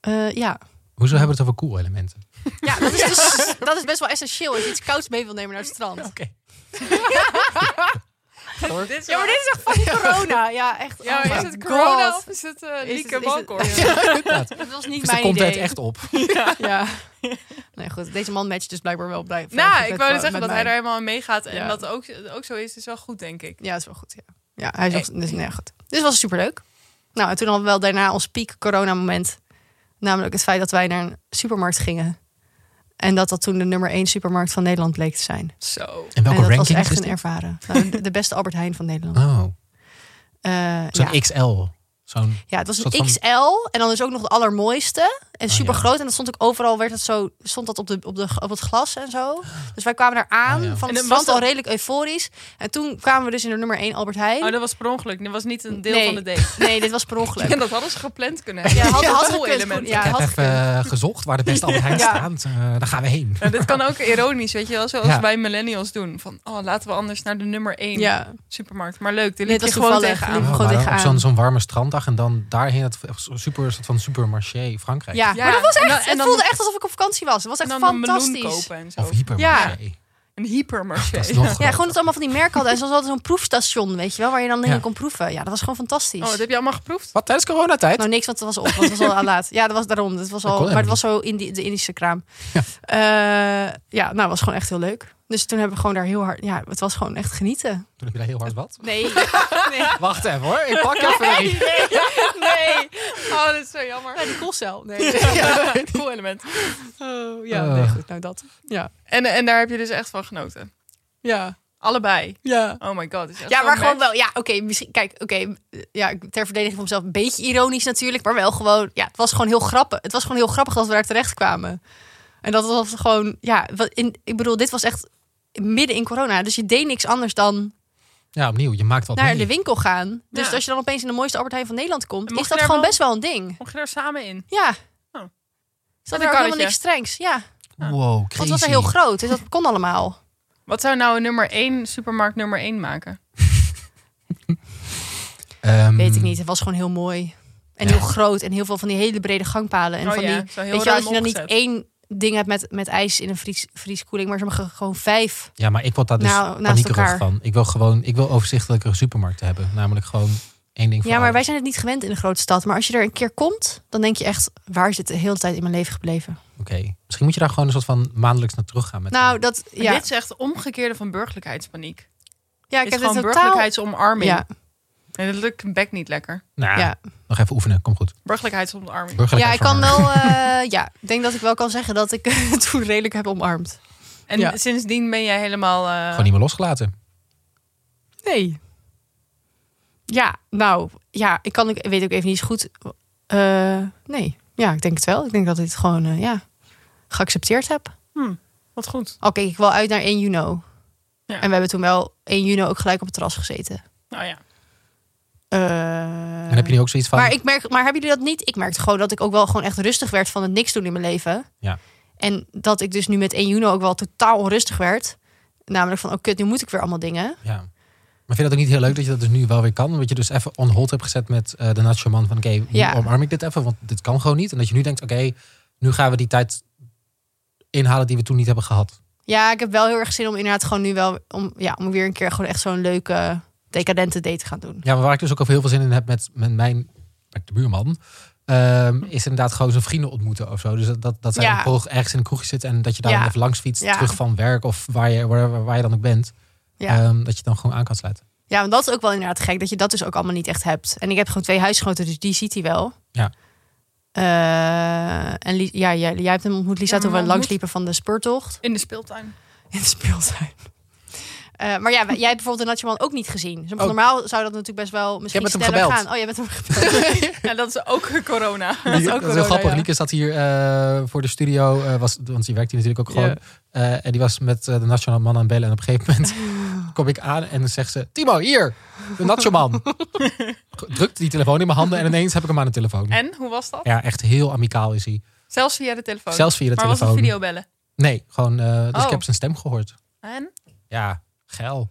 Speaker 2: Eh, ja.
Speaker 3: Hoezo hebben we het over cool elementen?
Speaker 2: ja, dat is, dus, dat is best wel essentieel als je iets kouds mee wil nemen naar het strand. Ja, maar dit is echt van corona. Ja, echt.
Speaker 1: Ja,
Speaker 2: oh
Speaker 1: maar
Speaker 2: my
Speaker 1: is het corona
Speaker 2: God.
Speaker 1: of is het eh
Speaker 2: Is
Speaker 1: Lieke
Speaker 2: het- is het-
Speaker 1: Walkhoorn?
Speaker 2: Dat was niet
Speaker 3: Dus daar
Speaker 2: mijn
Speaker 3: komt het
Speaker 2: idee.
Speaker 3: echt op.
Speaker 2: Ja. Nee, goed. Deze man matcht dus blijkbaar wel blij.
Speaker 1: Nou, ik
Speaker 2: met-
Speaker 1: wou
Speaker 2: met
Speaker 1: net zeggen dat
Speaker 2: mij.
Speaker 1: hij er helemaal aan meegaat en
Speaker 2: Ja.
Speaker 1: dat ook, ook zo is, is wel goed, denk ik.
Speaker 2: Ja, dat is wel goed. Ja, ja hij is ook... Dus, nee, goed. Dus het was superleuk. Nou, en toen hadden we wel daarna ons piek corona moment. Namelijk het feit dat wij naar een supermarkt gingen. En dat dat toen de nummer één supermarkt van Nederland bleek te zijn.
Speaker 1: Zo.
Speaker 3: En welke
Speaker 2: en dat was
Speaker 3: ranking
Speaker 2: echt
Speaker 3: is
Speaker 2: een
Speaker 3: dit?
Speaker 2: ervaren. Nou, de- de beste Albert Heijn van Nederland.
Speaker 3: Oh,
Speaker 2: Eh,
Speaker 3: zo'n
Speaker 2: ja.
Speaker 3: XL. Zo'n
Speaker 2: Ja, het was
Speaker 3: Een
Speaker 2: een
Speaker 3: soort van- Oh,
Speaker 2: XL en dan dus ook nog de allermooiste en
Speaker 3: ja.
Speaker 2: super groot en dat stond ook overal werd dat zo stond dat op de op de op het glas en zo. Dus wij kwamen daar aan
Speaker 3: Oh, ja.
Speaker 2: van
Speaker 1: En
Speaker 2: het
Speaker 1: dan was
Speaker 2: strand al
Speaker 1: dat-
Speaker 2: redelijk euforisch en toen kwamen we dus in de nummer 1 Albert Heijn.
Speaker 1: Oh, dat was per ongeluk. Dat was niet een deel
Speaker 2: Nee.
Speaker 1: van de date.
Speaker 2: Nee, dit was per ongeluk.
Speaker 1: En dat hadden ze gepland kunnen hebben.
Speaker 2: Ja, had- had
Speaker 1: cool
Speaker 2: gekund.
Speaker 1: elementen.
Speaker 2: Ja.
Speaker 3: Ik heb
Speaker 2: had
Speaker 3: even gezocht waar de beste Albert Heijn
Speaker 2: Ja.
Speaker 3: staat. Eh, daar gaan we heen.
Speaker 1: Nou, dit kan ook ironisch, weet je wel, zoals
Speaker 3: Ja.
Speaker 1: wij millennials doen. Van, oh, laten we anders naar de nummer één
Speaker 2: Ja.
Speaker 1: supermarkt. Maar leuk, dit
Speaker 2: Nee,
Speaker 1: liep
Speaker 2: het
Speaker 1: je
Speaker 2: was
Speaker 1: gewoon
Speaker 2: toevallig.
Speaker 1: tegenaan.
Speaker 2: Liep-
Speaker 3: Oh,
Speaker 2: gewoon
Speaker 3: maar
Speaker 2: tegenaan.
Speaker 3: op zo'n zo'n warme stranddag en dan daarheen het super, soort van supermarché Frankrijk.
Speaker 2: Ja.
Speaker 1: Ja.
Speaker 2: maar dat was
Speaker 1: En
Speaker 2: echt
Speaker 1: dan- en
Speaker 2: het
Speaker 1: dan-
Speaker 2: voelde echt alsof ik op vakantie was. Het was
Speaker 1: En
Speaker 2: echt
Speaker 1: dan een meloen
Speaker 2: fantastisch.
Speaker 1: kopen en zo.
Speaker 3: Of hypermarché.
Speaker 1: Een hypermarché.
Speaker 3: Dat is nog
Speaker 2: Ja,
Speaker 3: groter.
Speaker 2: gewoon dat allemaal van die merken hadden. En zoals altijd zo'n proefstation, weet je wel, waar je dan dingen
Speaker 3: Ja.
Speaker 2: kon proeven. Ja, dat was gewoon fantastisch.
Speaker 1: Oh, dat heb je allemaal geproefd?
Speaker 3: Wat, tijdens coronatijd?
Speaker 2: Nou, niks, want het was op. Want het was al aan laat. Ja, dat was daarom. Dat was
Speaker 3: Dat
Speaker 2: al,
Speaker 3: kon
Speaker 2: maar het
Speaker 3: helemaal
Speaker 2: was zo in die, de Indische kraam.
Speaker 3: Ja.
Speaker 2: Ja. ja, nou, het was gewoon echt heel leuk. Dus toen hebben we gewoon daar heel hard... Ja, het was gewoon echt genieten.
Speaker 3: Toen heb je daar heel hard wat.
Speaker 2: Nee,
Speaker 3: Wacht even hoor, ik pak even.
Speaker 2: nee.
Speaker 1: Oh, dat is zo jammer.
Speaker 2: die koelcel. Nee.
Speaker 1: Cool element.
Speaker 2: Oh, ja,
Speaker 3: Eh.
Speaker 2: nee, goed. Nou, dat. Ja.
Speaker 1: En, en daar heb je dus echt van genoten.
Speaker 2: Ja.
Speaker 1: Allebei.
Speaker 2: Ja.
Speaker 1: Oh my god. dit Is echt
Speaker 2: Ja,
Speaker 1: zo'n
Speaker 2: maar gewoon
Speaker 1: match.
Speaker 2: wel. Ja, oké. misschien, kijk, oké. ja, ter verdediging van mezelf. Een beetje ironisch natuurlijk. Maar wel gewoon. Ja, het was gewoon heel grappig. Het was gewoon heel grappig dat we daar terecht kwamen. En dat was gewoon. Ja, wat in, ik bedoel, dit was echt midden in corona. Dus je deed niks anders dan
Speaker 3: Ja, opnieuw, je maakt wat
Speaker 2: naar
Speaker 3: mee.
Speaker 2: de winkel gaan. Dus
Speaker 1: Ja.
Speaker 2: als je dan opeens in de mooiste Albert Heijn van Nederland komt,
Speaker 1: En mocht
Speaker 2: is
Speaker 1: je
Speaker 2: dat
Speaker 1: daar
Speaker 2: gewoon
Speaker 1: wel-
Speaker 2: best wel een ding.
Speaker 1: Mocht je daar samen in?
Speaker 2: Ja.
Speaker 1: Oh.
Speaker 2: Is dat
Speaker 1: Met
Speaker 2: er
Speaker 1: een
Speaker 2: helemaal
Speaker 1: karretje.
Speaker 2: niks strengs? Ja.
Speaker 3: Wow, crazy.
Speaker 2: Want het was er heel groot. Dus dat kon allemaal.
Speaker 1: Wat zou nou een nummer 1 supermarkt nummer 1 maken?
Speaker 3: Ehm,
Speaker 2: Weet
Speaker 1: Mm.
Speaker 2: ik niet. Het was gewoon heel mooi. En
Speaker 3: Ja.
Speaker 2: heel groot. En heel veel van die hele brede gangpaden. En
Speaker 1: oh
Speaker 2: van
Speaker 1: ja,
Speaker 2: die
Speaker 1: zo heel
Speaker 2: Weet je wel,
Speaker 1: ruim
Speaker 2: dat je dan niet
Speaker 1: opgezet.
Speaker 2: één ding hebt met, met ijs in een vries, vrieskoeling, maar sommige gewoon vijf.
Speaker 3: Ja, maar ik word daar dus
Speaker 2: Nou, naast
Speaker 3: paniekerig
Speaker 2: elkaar.
Speaker 3: van. Ik wil gewoon, ik wil overzichtelijke supermarkten hebben. Namelijk gewoon één ding voor
Speaker 2: Ja, maar wij
Speaker 3: alles.
Speaker 2: zijn het niet gewend in een grote stad. Maar als je er een keer komt, dan denk je echt, waar is dit de hele tijd in mijn leven gebleven?
Speaker 3: Oké, misschien moet je daar gewoon een soort van maandelijks naar terug gaan. Met
Speaker 2: Nou, dat,
Speaker 1: Maar
Speaker 2: ja.
Speaker 1: Dit is echt het omgekeerde van burgerlijkheidspaniek.
Speaker 2: ja,
Speaker 1: ik heb
Speaker 2: ik heb dit
Speaker 1: gewoon
Speaker 2: totaal...
Speaker 1: burgerlijkheidsomarming.
Speaker 2: Ja,
Speaker 1: Nee, dat lukt mijn bek niet lekker.
Speaker 3: Nou,
Speaker 2: ja.
Speaker 3: nog even oefenen, kom goed.
Speaker 1: Burgerlijkheidsomarming.
Speaker 3: Burgerlijk
Speaker 2: ja, ik kan
Speaker 3: uitverhoor.
Speaker 2: wel, eh, ja, ik denk dat ik wel kan zeggen dat ik het toen redelijk heb omarmd.
Speaker 1: En
Speaker 2: Ja.
Speaker 1: sindsdien ben jij helemaal... eh,
Speaker 3: Gewoon niet meer losgelaten.
Speaker 2: Nee. Ja, nou, ja, ik kan, ik weet ook even niet zo goed. eh, nee, ja, ik denk het wel. Ik denk dat ik het gewoon, eh, ja, geaccepteerd heb.
Speaker 1: Wat goed.
Speaker 2: Al keek ik wel uit naar 1 Juno.
Speaker 1: Ja.
Speaker 2: En we hebben toen wel 1 Juno ook gelijk op het terras gezeten.
Speaker 1: Nou ja.
Speaker 2: Eh,
Speaker 3: En heb je nu ook zoiets van...
Speaker 2: maar, ik merk, maar hebben jullie dat niet? Ik merkte gewoon dat ik ook wel gewoon echt rustig werd van het niks doen in mijn leven.
Speaker 3: Ja.
Speaker 2: En dat ik dus nu met 1 Juno ook wel totaal onrustig werd. Namelijk van, oh kut, nu moet ik weer allemaal dingen.
Speaker 3: Ja. Maar vind je dat ook niet heel leuk dat je dat dus nu wel weer kan? Omdat je dus even on hold hebt gezet met eh, de Nacho Man van... oké, nu
Speaker 2: Ja.
Speaker 3: omarm ik dit even, want dit kan gewoon niet. En dat je nu denkt, oké, nu gaan we die tijd inhalen die we toen niet hebben gehad.
Speaker 2: Ja, ik heb wel heel erg zin om inderdaad gewoon nu wel... om, ja, om weer een keer gewoon echt zo'n leuke decadente date te gaan doen.
Speaker 3: Ja, maar waar ik dus ook over heel veel zin in heb met, met mijn... met de buurman... ehm, is inderdaad gewoon zijn vrienden ontmoeten of zo. Dus dat, dat, dat zij
Speaker 2: Ja.
Speaker 3: dan toch ergens in een kroegje zitten... en dat je daar
Speaker 2: Ja.
Speaker 3: dan even langs fietst,
Speaker 2: Ja.
Speaker 3: terug van werk... of waar je, waar, waar je dan ook bent.
Speaker 2: Ja.
Speaker 3: Ehm, dat je dan gewoon aan kan sluiten.
Speaker 2: Ja, want dat is ook wel inderdaad gek dat je dat dus ook allemaal niet echt hebt. En ik heb gewoon twee huisgenoten, dus die ziet hij wel.
Speaker 3: Ja.
Speaker 2: Eh, en Li- ja, jij, jij hebt hem ontmoet, Lisa,
Speaker 1: Ja,
Speaker 2: toen we
Speaker 1: maar
Speaker 2: langsliepen van de speurtocht.
Speaker 1: In de speeltuin.
Speaker 2: In de speeltuin. Eh, maar ja, wij- jij hebt bijvoorbeeld de Natjeman ook niet gezien. Dus
Speaker 3: Oh.
Speaker 2: normaal zou dat natuurlijk best wel misschien
Speaker 3: hebt hem
Speaker 2: sneller
Speaker 3: gebeld.
Speaker 2: gaan. Oh, jij bent hem gebeld.
Speaker 1: Ja, dat is ook corona.
Speaker 3: Dat is,
Speaker 1: ook
Speaker 3: heel
Speaker 1: corona,
Speaker 3: grappig.
Speaker 1: ja.
Speaker 3: Lieke zat hier eh, voor de studio, eh, was, want die werkt hier natuurlijk ook gewoon.
Speaker 1: Ja.
Speaker 3: Eh, en die was met eh, de Nationale Man aan het bellen. En op een gegeven moment kom ik aan en dan zegt ze... Timo, hier, de Nationale Man. Drukt die telefoon in mijn handen en ineens heb ik hem aan de telefoon.
Speaker 1: En, hoe was dat?
Speaker 3: Ja, echt heel amicaal is hij.
Speaker 1: Zelfs via de telefoon.
Speaker 3: Zelfs via de
Speaker 1: maar was
Speaker 3: telefoon.
Speaker 1: het videobellen?
Speaker 3: Nee, gewoon... eh, dus
Speaker 1: Oh.
Speaker 3: ik heb zijn stem gehoord.
Speaker 1: En?
Speaker 3: Ja, geil.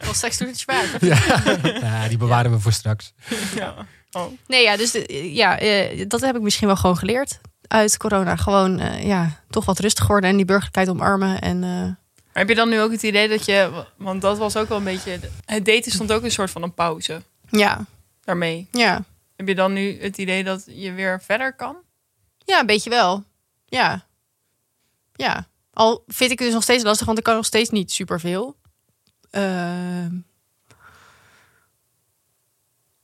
Speaker 2: Wel straks doet het je waar.
Speaker 3: Ja, Ja, die bewaren we voor straks.
Speaker 1: Ja. Oh.
Speaker 2: Nee, ja, dus de- ja, eh, dat heb ik misschien wel gewoon geleerd uit corona. Gewoon, eh, ja, toch wat rustig worden en die burgerlijkheid omarmen. En eh,
Speaker 1: Maar heb je dan nu ook het idee dat je... Want dat was ook wel een beetje... Het daten stond ook een soort van een pauze
Speaker 2: ja,
Speaker 1: daarmee.
Speaker 2: ja,
Speaker 1: Heb je dan nu het idee dat je weer verder kan?
Speaker 2: ja, een beetje wel. Ja, ja. Al vind ik het dus nog steeds lastig, want ik kan nog steeds niet superveel. Ehm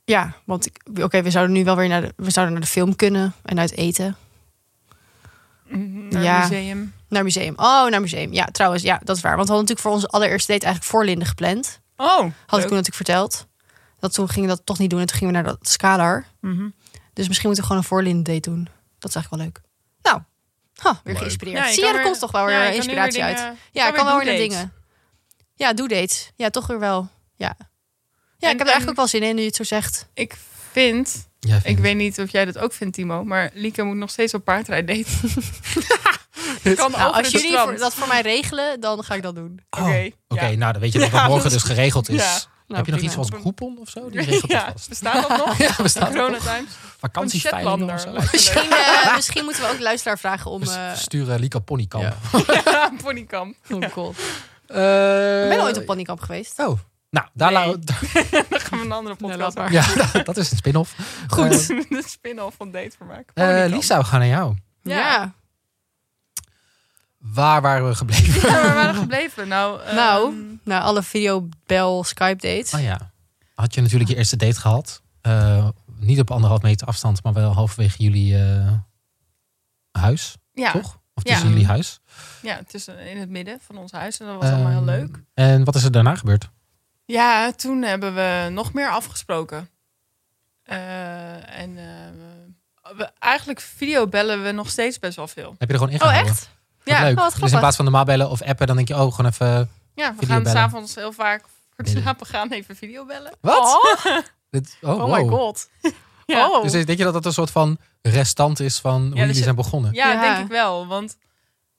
Speaker 2: ja, want ik- oké, we zouden nu wel weer naar de, we zouden naar de film kunnen en uit eten.
Speaker 1: Naar
Speaker 2: Ja.
Speaker 1: het museum?
Speaker 2: Naar museum. Oh, naar museum. Ja, trouwens, ja, dat is waar. Want we hadden natuurlijk voor onze allereerste date eigenlijk voor Linde gepland.
Speaker 1: Oh,
Speaker 2: Had
Speaker 1: leuk.
Speaker 2: ik toen natuurlijk verteld. Dat toen gingen we dat toch niet doen. En toen gingen we naar dat Scalar.
Speaker 1: Mhm.
Speaker 2: Dus misschien moeten we gewoon een voorlinde date doen. Dat is eigenlijk wel leuk. Nou, ha, weer geïnspireerd.
Speaker 1: Ja, je
Speaker 2: Zie
Speaker 1: kan
Speaker 2: je, er
Speaker 1: weer-
Speaker 2: komt toch wel weer
Speaker 1: ja, je kan nu
Speaker 2: inspiratie
Speaker 1: weer
Speaker 2: uit.
Speaker 1: dingen- je
Speaker 2: ja, ik kan wel weer naar
Speaker 1: do-dates.
Speaker 2: dingen. Ja, doe dates. Ja, toch weer wel. Ja. Ja,
Speaker 1: En-
Speaker 2: ik heb er eigenlijk ook wel zin in nu je het zo zegt.
Speaker 1: Ik vind...
Speaker 3: Ja,
Speaker 1: Ik weet niet of jij dat ook vindt, Timo. Maar Lieke moet nog steeds op paardrijd daten. kan
Speaker 2: Nou,
Speaker 1: over
Speaker 2: als
Speaker 1: het
Speaker 2: jullie
Speaker 1: strand.
Speaker 2: voor- dat voor mij regelen, dan ga ik dat doen.
Speaker 1: Oké.
Speaker 3: Oh, Oké,
Speaker 1: ja.
Speaker 3: nou dan weet je dat
Speaker 1: Ja,
Speaker 3: dat morgen
Speaker 1: dat
Speaker 3: dus geregeld is.
Speaker 1: Ja. nou,
Speaker 3: heb je nog
Speaker 2: prima.
Speaker 3: iets zoals Groupon of zo? Die regelt dat
Speaker 1: ja,
Speaker 3: vast.
Speaker 1: bestaat dat nog?
Speaker 3: Ja, bestaat dat
Speaker 1: Corona
Speaker 3: nog?
Speaker 1: Times.
Speaker 3: Vakantieveilingen of zo.
Speaker 2: Misschien, eh, misschien moeten we ook luisteraar vragen om...
Speaker 3: Dus
Speaker 2: eh
Speaker 3: sturen Lika Ponykamp.
Speaker 2: ja.
Speaker 1: Ja, ponykamp.
Speaker 2: oh, cool.
Speaker 3: Eh,
Speaker 2: Ik ben ooit op ponykamp geweest.
Speaker 3: Oh, nou, daar
Speaker 1: Nee.
Speaker 3: laten we-
Speaker 1: Dan gaan we een andere podcast
Speaker 2: laat
Speaker 1: maken.
Speaker 3: ja, dat- dat is een spin-off.
Speaker 1: Goed. de spin-off van Datevermaak.
Speaker 3: Eh,
Speaker 1: Ponykamp.
Speaker 3: Lisa, we gaan naar jou.
Speaker 1: Ja.
Speaker 2: ja.
Speaker 3: Waar waren we gebleven?
Speaker 1: Ja, waar waren we gebleven? Nou, eh,
Speaker 2: Nou, na alle videobel Skype dates.
Speaker 3: Oh ja, had je natuurlijk je eerste date gehad. Eh, niet op anderhalf meter afstand, maar wel halverwege jullie eh, huis,
Speaker 1: ja,
Speaker 3: toch? Of
Speaker 1: Ja.
Speaker 3: tussen jullie huis.
Speaker 1: ja, tussen in het midden van ons huis. En dat was allemaal heel
Speaker 3: Eh,
Speaker 1: leuk.
Speaker 3: En wat is er daarna gebeurd?
Speaker 1: Ja, toen hebben we nog meer afgesproken. Eh, en eh, we, eigenlijk videobellen we nog steeds best wel veel.
Speaker 3: Heb je er
Speaker 2: Oh,
Speaker 3: gewoon ingehouden?
Speaker 2: echt?
Speaker 3: Wat
Speaker 1: Ja,
Speaker 3: leuk.
Speaker 2: oh, wat
Speaker 3: dus in
Speaker 2: grappig.
Speaker 3: plaats van normaal bellen of appen, dan denk je, oh, gewoon even...
Speaker 1: Ja, we gaan
Speaker 3: Videobellen.
Speaker 1: s'avonds heel vaak voor het
Speaker 3: Nee.
Speaker 1: slapen gaan even videobellen.
Speaker 3: Wat?
Speaker 2: Oh,
Speaker 3: Dit, oh,
Speaker 2: oh my
Speaker 3: wow.
Speaker 2: god.
Speaker 1: Ja.
Speaker 2: Oh.
Speaker 3: Dus denk je dat dat een soort van restant is van hoe
Speaker 1: dus
Speaker 3: jullie
Speaker 1: je-
Speaker 3: zijn begonnen?
Speaker 1: Ja,
Speaker 2: Ja.
Speaker 1: denk ik wel. Want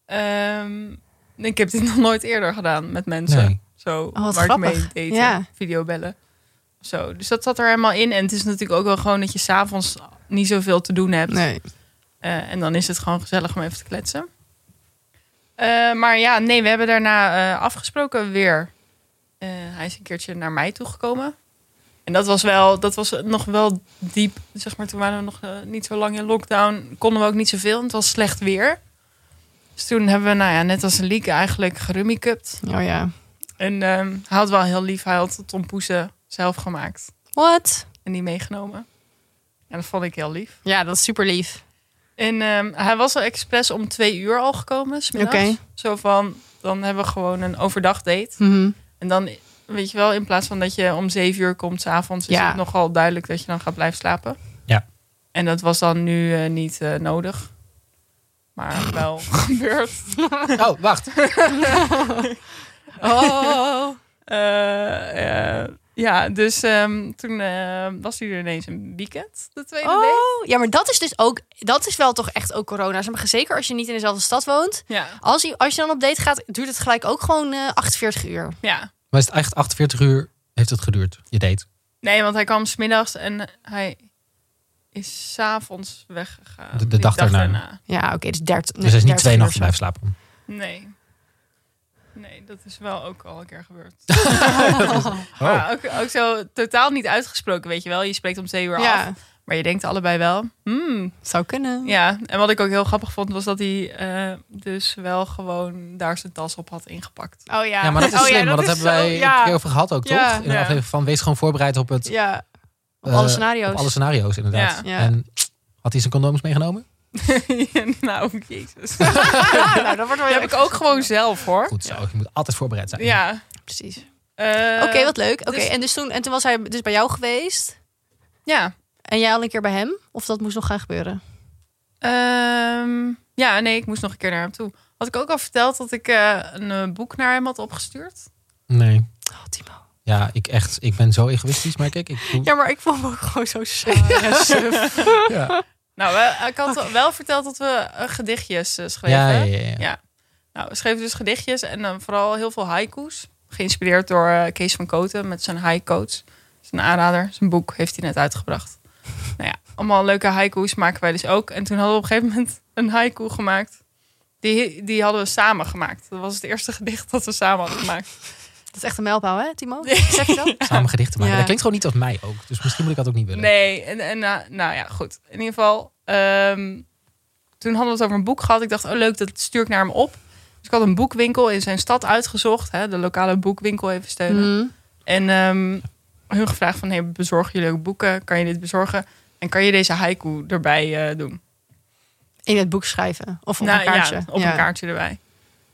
Speaker 1: ehm, ik heb dit nog nooit eerder gedaan met mensen.
Speaker 3: Nee.
Speaker 1: Zo,
Speaker 2: Oh, wat
Speaker 1: waar ik
Speaker 2: grappig.
Speaker 1: mee
Speaker 2: Ja.
Speaker 1: date, videobellen. Zo, dus dat zat er helemaal in. En het is natuurlijk ook wel gewoon dat je s'avonds niet zoveel te doen hebt.
Speaker 2: Nee.
Speaker 1: Eh, en dan is het gewoon gezellig om even te kletsen. Eh, maar ja, nee, we hebben daarna eh, afgesproken weer. Eh, hij is een keertje naar mij toegekomen. En dat was wel, dat was nog wel diep. Zeg maar, toen waren we nog eh, niet zo lang in lockdown. Konden we ook niet zoveel. En het was slecht weer. Dus toen hebben we, nou ja, net als een leak eigenlijk gerummikupt.
Speaker 2: Oh ja.
Speaker 1: En ehm, hij had wel heel lief. Hij had tompoesen zelf gemaakt.
Speaker 2: What?
Speaker 1: En die meegenomen. En dat vond ik heel lief.
Speaker 2: Ja, dat is super lief.
Speaker 1: En ehm, hij was al expres om twee uur al gekomen, smiddags.
Speaker 2: Oké.
Speaker 1: Zo van, dan hebben we gewoon een overdag date.
Speaker 2: Mhm.
Speaker 1: En dan, weet je wel, in plaats van dat je om zeven uur komt s'avonds... is
Speaker 2: Ja.
Speaker 1: het nogal duidelijk dat je dan gaat blijven slapen.
Speaker 3: Ja.
Speaker 1: En dat was dan nu eh, niet eh, nodig. Maar wel gebeurd.
Speaker 3: Oh, wacht.
Speaker 2: Oh.
Speaker 1: Eh, eh, ja, dus ehm, toen eh, was hij er ineens een weekend, de tweede date.
Speaker 2: oh. Ja, maar dat is dus ook... Dat is wel toch echt ook corona. Zeg maar, zeker als je niet in dezelfde stad woont.
Speaker 1: Ja,
Speaker 2: Als je, als je dan op date gaat, duurt het gelijk ook gewoon eh, 48 uur.
Speaker 1: ja.
Speaker 3: Maar is het echt 48 uur heeft het geduurd, je date?
Speaker 1: Nee, want hij kwam smiddags en hij is s'avonds weggegaan.
Speaker 3: De- de
Speaker 1: Die
Speaker 3: dag daarna.
Speaker 2: Ja, oké. dus 30
Speaker 3: Dus hij is niet twee nachten
Speaker 2: blijven
Speaker 3: blijven slapen.
Speaker 1: Nee. Nee, dat is wel ook al een keer gebeurd.
Speaker 3: Oh.
Speaker 1: Maar ook, ook zo totaal niet uitgesproken, weet je wel. Je spreekt om twee uur af,
Speaker 2: Ja,
Speaker 1: maar je denkt allebei wel. Hmm.
Speaker 2: zou kunnen.
Speaker 1: Ja, en wat ik ook heel grappig vond, was dat hij eh, dus wel gewoon daar zijn tas op had ingepakt.
Speaker 2: Oh ja.
Speaker 3: Ja, maar dat is
Speaker 2: oh,
Speaker 3: slim,
Speaker 2: ja,
Speaker 3: want dat
Speaker 2: is
Speaker 3: hebben wij
Speaker 2: zo-
Speaker 3: een
Speaker 2: Ja.
Speaker 3: keer over gehad ook,
Speaker 2: Ja,
Speaker 3: toch? In een
Speaker 1: ja.
Speaker 3: aflevering van wees gewoon voorbereid op, het,
Speaker 2: ja. Op
Speaker 3: eh,
Speaker 2: alle scenario's.
Speaker 3: op alle scenario's, inderdaad.
Speaker 2: Ja. Ja.
Speaker 3: En had hij zijn condooms meegenomen?
Speaker 1: Ja, nou, jezus.
Speaker 2: nou, dat wordt wel
Speaker 1: Dat heb ik ook gewoon zelf, hoor.
Speaker 3: Goed zo, je moet altijd voorbereid zijn.
Speaker 1: Ja.
Speaker 2: Precies. Oké,
Speaker 1: Eh,
Speaker 2: wat leuk. Oké,
Speaker 1: dus-
Speaker 2: en, dus toen, en toen was hij dus bij jou geweest.
Speaker 1: Ja.
Speaker 2: En jij al een keer bij hem? Of dat moest nog gaan gebeuren?
Speaker 1: Ehm, ja, nee, ik moest nog een keer naar hem toe. Had ik ook al verteld dat ik eh, een eh, boek naar hem had opgestuurd?
Speaker 3: Nee.
Speaker 2: Oh, Timo.
Speaker 3: Ja, ik echt, ik ben zo egoïstisch, merk ik. ik doe-
Speaker 2: Ja, maar ik voel me ook gewoon zo saai. en suf.
Speaker 3: ja.
Speaker 1: Nou, wel- ik had wel verteld dat we eh, gedichtjes eh, schreven.
Speaker 3: Ja, ja, ja, ja.
Speaker 1: Ja. Nou, we schreven dus gedichtjes en dan vooral heel veel haiku's. Geïnspireerd door eh, Kees van Koten met zijn haiko's. Zijn aanrader, zijn boek heeft hij net uitgebracht. nou ja, allemaal leuke haiku's maken wij dus ook. En toen hadden we op een gegeven moment een haiku gemaakt. Die, die hadden we samen gemaakt. Dat was het eerste gedicht dat we samen hadden gemaakt.
Speaker 2: Dat is echt een mijlpaal, hè, Timo? Zeg je dat?
Speaker 3: Samen gedichten maken.
Speaker 2: Ja.
Speaker 3: Dat klinkt gewoon niet als mij ook. Dus misschien moet ik dat ook niet willen.
Speaker 1: Nee, en, en nou, nou ja, goed. In ieder geval, ehm, toen hadden we het over een boek gehad. Ik dacht, oh leuk, dat stuur ik naar hem op. Dus ik had een boekwinkel in zijn stad uitgezocht. Hè, de lokale boekwinkel even steunen.
Speaker 2: Mhm.
Speaker 1: En ehm, hun gevraagd van, hey, bezorgen jullie ook boeken? Kan je dit bezorgen? En kan je deze haiku erbij eh, doen?
Speaker 2: In het boek schrijven. Of op een
Speaker 1: Nou,
Speaker 2: kaartje.
Speaker 1: Ja, op een kaartje erbij.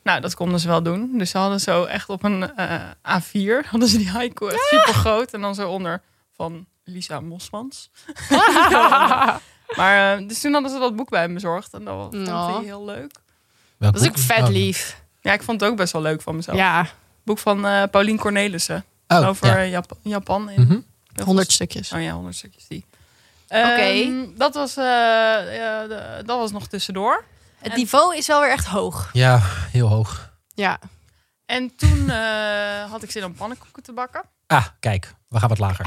Speaker 1: Nou, dat konden ze wel doen. Dus ze hadden zo echt op een eh, A4 hadden ze die haiku echt super groot. En dan zo onder van Lisa Mosmans. maar eh, dus toen hadden ze dat boek bij hem bezorgd. En dat was- vond
Speaker 2: Nou.
Speaker 1: hij heel leuk.
Speaker 3: Welk
Speaker 2: Dat is
Speaker 3: boek
Speaker 2: ook vet
Speaker 3: Oh.
Speaker 2: lief.
Speaker 1: Ja, ik vond het ook best wel leuk van mezelf.
Speaker 2: Ja,
Speaker 1: Boek van eh Paulien Cornelissen.
Speaker 3: Oh,
Speaker 1: over
Speaker 3: ja.
Speaker 1: eh, Jap- Japan. In
Speaker 3: Mhm.
Speaker 1: heel veel
Speaker 2: 100 stukjes.
Speaker 1: Oh ja, 100 stukjes die.
Speaker 2: Oké.
Speaker 1: Ehm, dat, was, eh, eh, de- dat was nog tussendoor.
Speaker 2: Het niveau is wel weer echt hoog.
Speaker 3: Ja, heel hoog.
Speaker 2: Ja.
Speaker 1: En toen eh, had ik zin om pannenkoeken te bakken.
Speaker 3: Ah, kijk, we gaan wat lager.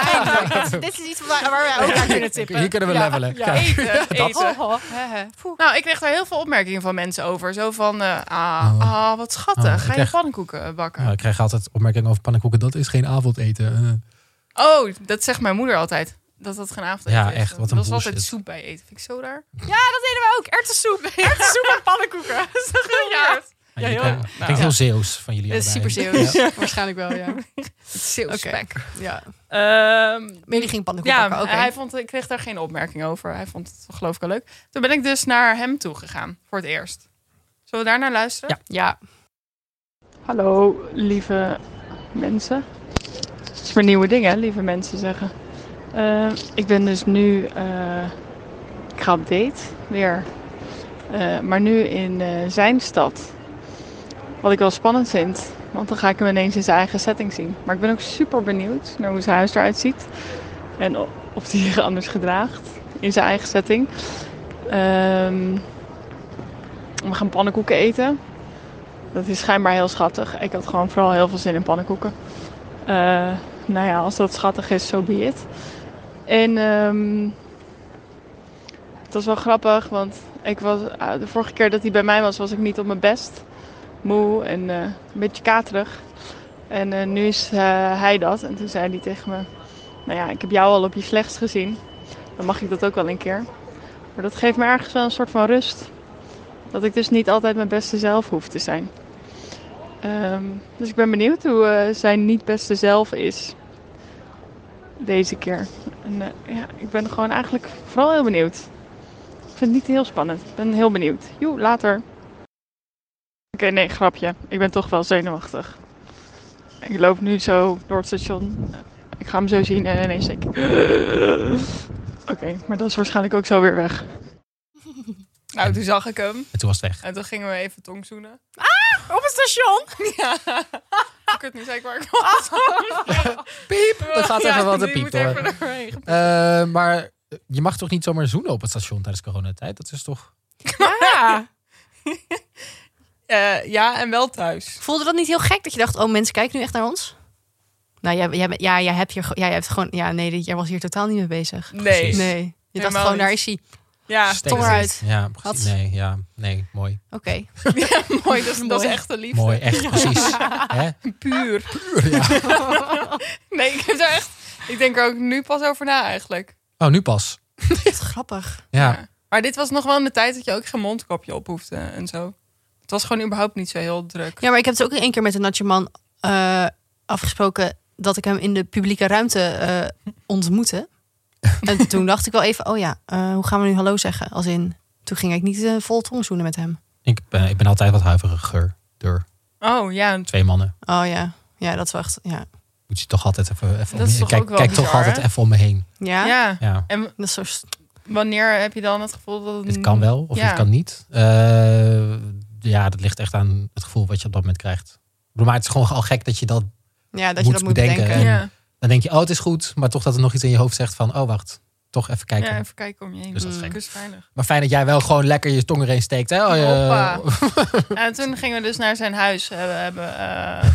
Speaker 2: Dit is iets waar waar wij ook aan kunnen tippen.
Speaker 3: Hier kunnen we levelen. Kijk.
Speaker 1: Eten, eten.
Speaker 2: Oh, oh, hè, hè. Poeh.
Speaker 1: Nou, ik kreeg daar heel veel opmerkingen van mensen over. Zo van, eh, ah,
Speaker 3: Oh.
Speaker 1: ah, wat schattig.
Speaker 3: Oh, ik
Speaker 1: Ga je
Speaker 3: krijg-
Speaker 1: pannenkoeken eh, bakken?
Speaker 3: Nou, ik krijg altijd opmerkingen over pannenkoeken. Dat is geen avondeten. Eh,
Speaker 1: Oh, dat zegt mijn moeder altijd. Dat dat geen avondeten
Speaker 3: Ja,
Speaker 1: is.
Speaker 3: echt, wat een
Speaker 1: Dat was altijd
Speaker 3: bullshit.
Speaker 1: soep bij eten. Vind ik zo raar.
Speaker 2: Ook erwtensoep.
Speaker 1: Soep en pannenkoeken. Dat is toch gebeurd? Ja, Eh,
Speaker 3: jullie
Speaker 1: joh.
Speaker 3: krijgen-
Speaker 1: Nou,
Speaker 3: klinkt heel Zeeuws van jullie
Speaker 2: Dit is
Speaker 3: allebei.
Speaker 2: super serieus. Waarschijnlijk wel, ja.
Speaker 1: Zeeuwspek.
Speaker 2: ja.
Speaker 1: Ehm,
Speaker 2: Maar jullie gingen pannenkoeken
Speaker 1: ja,
Speaker 2: bakken. oké.
Speaker 1: hij vond, ik kreeg daar geen opmerking over. Hij vond het geloof ik wel leuk. Toen ben ik dus naar hem toe gegaan, voor het eerst. Zullen we daarnaar luisteren?
Speaker 3: Ja.
Speaker 2: Ja.
Speaker 5: Hallo, lieve mensen. Het is maar nieuwe dingen, hè, lieve mensen zeggen. Eh, ik ben dus nu... eh, ik ga op date weer. Eh, maar nu in eh, zijn stad. Wat ik wel spannend vind. Want dan ga ik hem ineens in zijn eigen setting zien. Maar ik ben ook super benieuwd naar hoe zijn huis eruit ziet. En o- of hij zich anders gedraagt in zijn eigen setting. Ehm, we gaan pannenkoeken eten. Dat is schijnbaar heel schattig. Ik had gewoon vooral heel veel zin in pannenkoeken. Eh, nou ja, als dat schattig is, zo so be it. En ehm het was wel grappig, want ik was, ah, de vorige keer dat hij bij mij was, was ik niet op mijn best. Moe en eh, een beetje katerig. En eh, nu is eh, hij dat. En toen zei hij tegen me, nou ja, ik heb jou al op je slechts gezien. Dan mag ik dat ook wel een keer. Maar dat geeft me ergens wel een soort van rust. Dat ik dus niet altijd mijn beste zelf hoef te zijn. Ehm, dus ik ben benieuwd hoe eh, zijn niet beste zelf is. Deze keer. En, eh, ja, ik ben gewoon eigenlijk vooral heel benieuwd. Ik vind het niet heel spannend. Ik ben heel benieuwd. Joe, later. Oké, nee, grapje. Ik ben toch wel zenuwachtig. Ik loop nu zo door het station. Ik ga hem zo zien en ineens denk ik... Oké, maar dat is waarschijnlijk ook zo weer weg.
Speaker 1: Nou, toen zag ik hem.
Speaker 3: En toen was het weg.
Speaker 1: En toen gingen we even tongzoenen.
Speaker 2: Op het station.
Speaker 1: Ja. Ik kan het niet zeker waar ik was.
Speaker 3: Piep, dat gaat
Speaker 1: Ja,
Speaker 3: even wat
Speaker 1: die
Speaker 3: een
Speaker 1: moet
Speaker 3: piep
Speaker 1: even
Speaker 3: hoor.
Speaker 1: doorheen.
Speaker 3: Eh, maar je mag toch niet zomaar zoenen op het station tijdens coronatijd? Dat is toch...
Speaker 2: Ja.
Speaker 1: Eh, ja, en wel thuis.
Speaker 2: Voelde dat niet heel gek dat je dacht, oh mensen kijken nu echt naar ons? Nou, jij, jij, bent- ja, jij hebt hier, ge- ja, jij hebt gewoon, ja, nee, dit- jij was hier totaal niet mee bezig.
Speaker 1: Nee.
Speaker 3: Precies.
Speaker 2: Nee, je dacht
Speaker 1: Helemaal
Speaker 2: gewoon, daar
Speaker 1: niet.
Speaker 2: is hij.
Speaker 1: Ja,
Speaker 3: Steek het
Speaker 2: eruit.
Speaker 3: niet. Ja, precies.
Speaker 2: Had-
Speaker 3: Nee, ja, nee, mooi.
Speaker 2: Oké.
Speaker 1: ja, mooi. Dat is, dat is
Speaker 2: Mooi.
Speaker 1: echt de liefde.
Speaker 3: Mooi, echt, precies. Hè?
Speaker 1: Puur.
Speaker 3: Ja.
Speaker 1: Nee, ik heb daar echt... Ik denk er ook nu pas over na eigenlijk.
Speaker 3: Oh, nu pas.
Speaker 2: Echt grappig.
Speaker 3: Ja,
Speaker 1: Maar dit was nog wel in de tijd dat je ook geen mondkapje op hoefde en zo. Het was gewoon überhaupt niet zo heel druk.
Speaker 2: Ja, maar ik heb het ook één keer met een natje man eh, afgesproken dat ik hem in de publieke ruimte eh, ontmoette. En toen dacht ik wel even, oh ja, eh, hoe gaan we nu hallo zeggen? Als in, toen ging ik niet eh, vol tong zoenen met hem.
Speaker 3: Ik ben, ik ben altijd wat huiveriger door
Speaker 1: Oh ja,
Speaker 3: twee mannen.
Speaker 2: Oh ja, ja, dat is wel echt, ja.
Speaker 3: Moet je toch altijd even, even
Speaker 1: Dat
Speaker 3: om
Speaker 1: is
Speaker 3: je
Speaker 1: toch
Speaker 3: Kijk,
Speaker 1: ook wel
Speaker 3: kijk toch
Speaker 1: bizar,
Speaker 3: altijd
Speaker 1: hè?
Speaker 3: even om me heen.
Speaker 2: Ja,
Speaker 1: ja.
Speaker 3: Ja.
Speaker 1: En
Speaker 2: dat is zo... st-
Speaker 1: wanneer heb je dan het gevoel dat het...
Speaker 3: Het kan wel of
Speaker 1: Ja.
Speaker 3: het kan niet. Eh, ja, dat ligt echt aan het gevoel wat je op dat moment krijgt. Ik bedoel, Maar het is gewoon al gek dat je dat...
Speaker 2: Ja, dat
Speaker 3: Moet
Speaker 2: je dat moet
Speaker 3: bedenken.
Speaker 2: bedenken.
Speaker 3: En-
Speaker 1: Ja.
Speaker 3: Dan denk je, oh, het is goed. Maar toch dat er nog iets in je hoofd zegt van... Oh, wacht. Toch even kijken.
Speaker 1: ja, even kijken om je heen.
Speaker 3: Dus
Speaker 2: dat is
Speaker 1: dat
Speaker 3: gek.
Speaker 1: is veilig.
Speaker 3: Maar fijn dat jij wel gewoon lekker je tong erheen steekt. Hè? Oh, ja.
Speaker 1: Hoppa. En toen gingen we dus naar zijn huis. We hebben eh,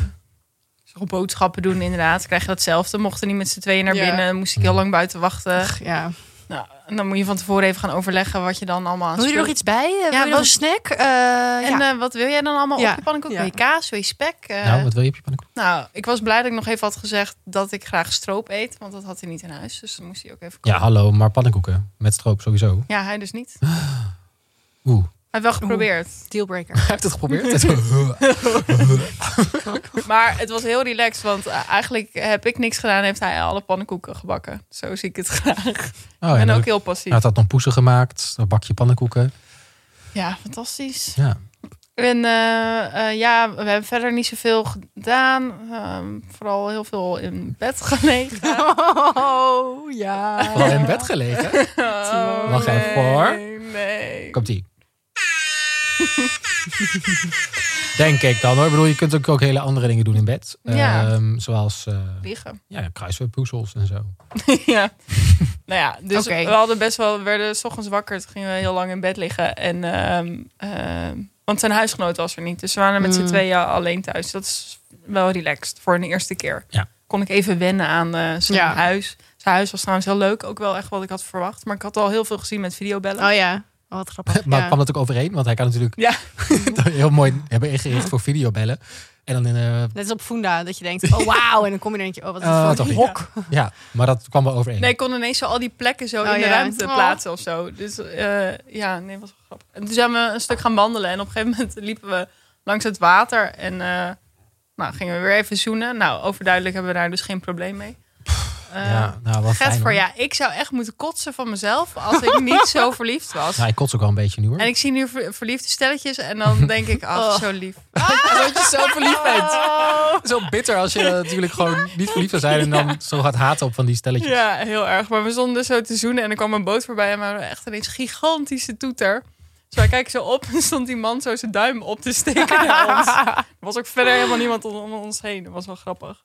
Speaker 1: zo boodschappen doen inderdaad. Krijg je datzelfde. Mochten niet met z'n tweeën naar
Speaker 2: Ja.
Speaker 1: binnen. Moest ik heel lang buiten wachten.
Speaker 2: Ach, ja.
Speaker 1: Nou, en dan moet je van tevoren even gaan overleggen wat je dan allemaal aan
Speaker 2: Wil je er nog
Speaker 1: speelt.
Speaker 2: iets bij? Eh, wil je nog
Speaker 1: wat-
Speaker 2: een snack? Eh,
Speaker 1: En
Speaker 2: ja.
Speaker 1: eh, wat wil jij dan allemaal
Speaker 2: Ja.
Speaker 1: op je pannenkoek?
Speaker 2: Ja.
Speaker 1: Wil je kaas? Wil je spek? Eh,
Speaker 3: Nou, wat wil je op je pannenkoek?
Speaker 1: Nou, ik was blij dat ik nog even had gezegd dat ik graag stroop eet. Want dat had hij niet in huis. Dus dan moest hij ook even
Speaker 3: Ja, hallo, maar pannenkoeken. Met stroop sowieso.
Speaker 1: Ja, hij dus niet.
Speaker 3: Oeh.
Speaker 1: Hij heeft wel geprobeerd.
Speaker 2: Dealbreaker.
Speaker 3: Hij heeft het geprobeerd.
Speaker 1: Maar het was heel relaxed. Want eh, eigenlijk heb ik niks gedaan. Heeft hij alle pannenkoeken gebakken. Zo zie ik het graag.
Speaker 3: Oh,
Speaker 1: en
Speaker 3: en
Speaker 1: ook
Speaker 3: ook
Speaker 1: heel passief.
Speaker 3: hij had dat dan poezen gemaakt, een bakje pannenkoeken.
Speaker 1: Ja, fantastisch.
Speaker 3: Ja.
Speaker 1: En eh, eh, ja, we hebben verder niet zoveel gedaan. Ehm, vooral heel veel in bed gelegen.
Speaker 2: Oh, ja.
Speaker 3: Vooral in bed gelegen.
Speaker 1: Oh,
Speaker 3: Wacht even, hoor.
Speaker 1: Nee, nee.
Speaker 3: Komt ie. Denk ik dan hoor. Ik bedoel, je kunt ook, ook hele andere dingen doen in bed.
Speaker 1: Ja.
Speaker 3: Ehm, zoals eh
Speaker 1: Liggen.
Speaker 3: ja, kruiswoordpuzzels en zo.
Speaker 1: ja. Nou ja, dus
Speaker 2: Oké.
Speaker 1: we hadden best wel, we werden 's ochtends wakker. Toen gingen we heel lang in bed liggen. En, ehm, ehm, want zijn huisgenoot was er niet. Dus we waren met z'n
Speaker 2: Mm.
Speaker 1: tweeën alleen thuis. Dat is wel relaxed voor een eerste keer.
Speaker 3: Ja.
Speaker 1: Kon ik even wennen aan eh, zijn
Speaker 2: Ja.
Speaker 1: huis. Zijn huis was trouwens heel leuk. Ook wel echt wat ik had verwacht. Maar ik had al heel veel gezien met videobellen.
Speaker 2: Oh ja, Oh, wat grappig.
Speaker 3: Maar
Speaker 2: ja.
Speaker 3: kwam dat ook overeen? Want hij kan natuurlijk
Speaker 1: Ja.
Speaker 3: heel mooi hebben ingericht voor videobellen. En dan in, eh,
Speaker 2: Net als op Funda, dat je denkt, oh wauw. En dan kom je en denk je, oh wat is
Speaker 3: Oh,
Speaker 2: het
Speaker 3: toch
Speaker 2: voor een
Speaker 3: niet.
Speaker 2: hok.
Speaker 3: ja, maar dat kwam wel overeen.
Speaker 1: Nee, ik kon ineens zo al die plekken zo
Speaker 2: Oh,
Speaker 1: in de
Speaker 2: ja.
Speaker 1: ruimte
Speaker 2: Oh.
Speaker 1: plaatsen of zo. Dus eh, ja, nee, was wel grappig. En toen zijn we een stuk gaan wandelen. En op een gegeven moment liepen we langs het water. En eh, nou, gingen we weer even zoenen. Nou, overduidelijk hebben we daar dus geen probleem mee. Eh,
Speaker 3: ja, nou, wat
Speaker 1: Gaat
Speaker 3: fijn,
Speaker 1: voor
Speaker 3: hoor.
Speaker 1: ja, ik zou echt moeten kotsen van mezelf als ik niet zo verliefd was.
Speaker 3: Nou, ik kots ook al een beetje nu hoor.
Speaker 1: En ik zie nu ver- verliefde stelletjes en dan denk ik, ach,
Speaker 2: Oh.
Speaker 1: zo lief.
Speaker 3: dat je zo verliefd bent. Zo bitter als je eh, natuurlijk gewoon niet verliefd zou zijn en dan zo gaat haten op van die stelletjes.
Speaker 1: Ja, heel erg. Maar we stonden dus zo te zoenen en er kwam een boot voorbij en we hadden echt ineens gigantische toeter. Dus wij kijken zo op en stond die man zo zijn duim op te steken naar ons. Er was ook verder helemaal niemand om, om ons heen. Dat was wel grappig.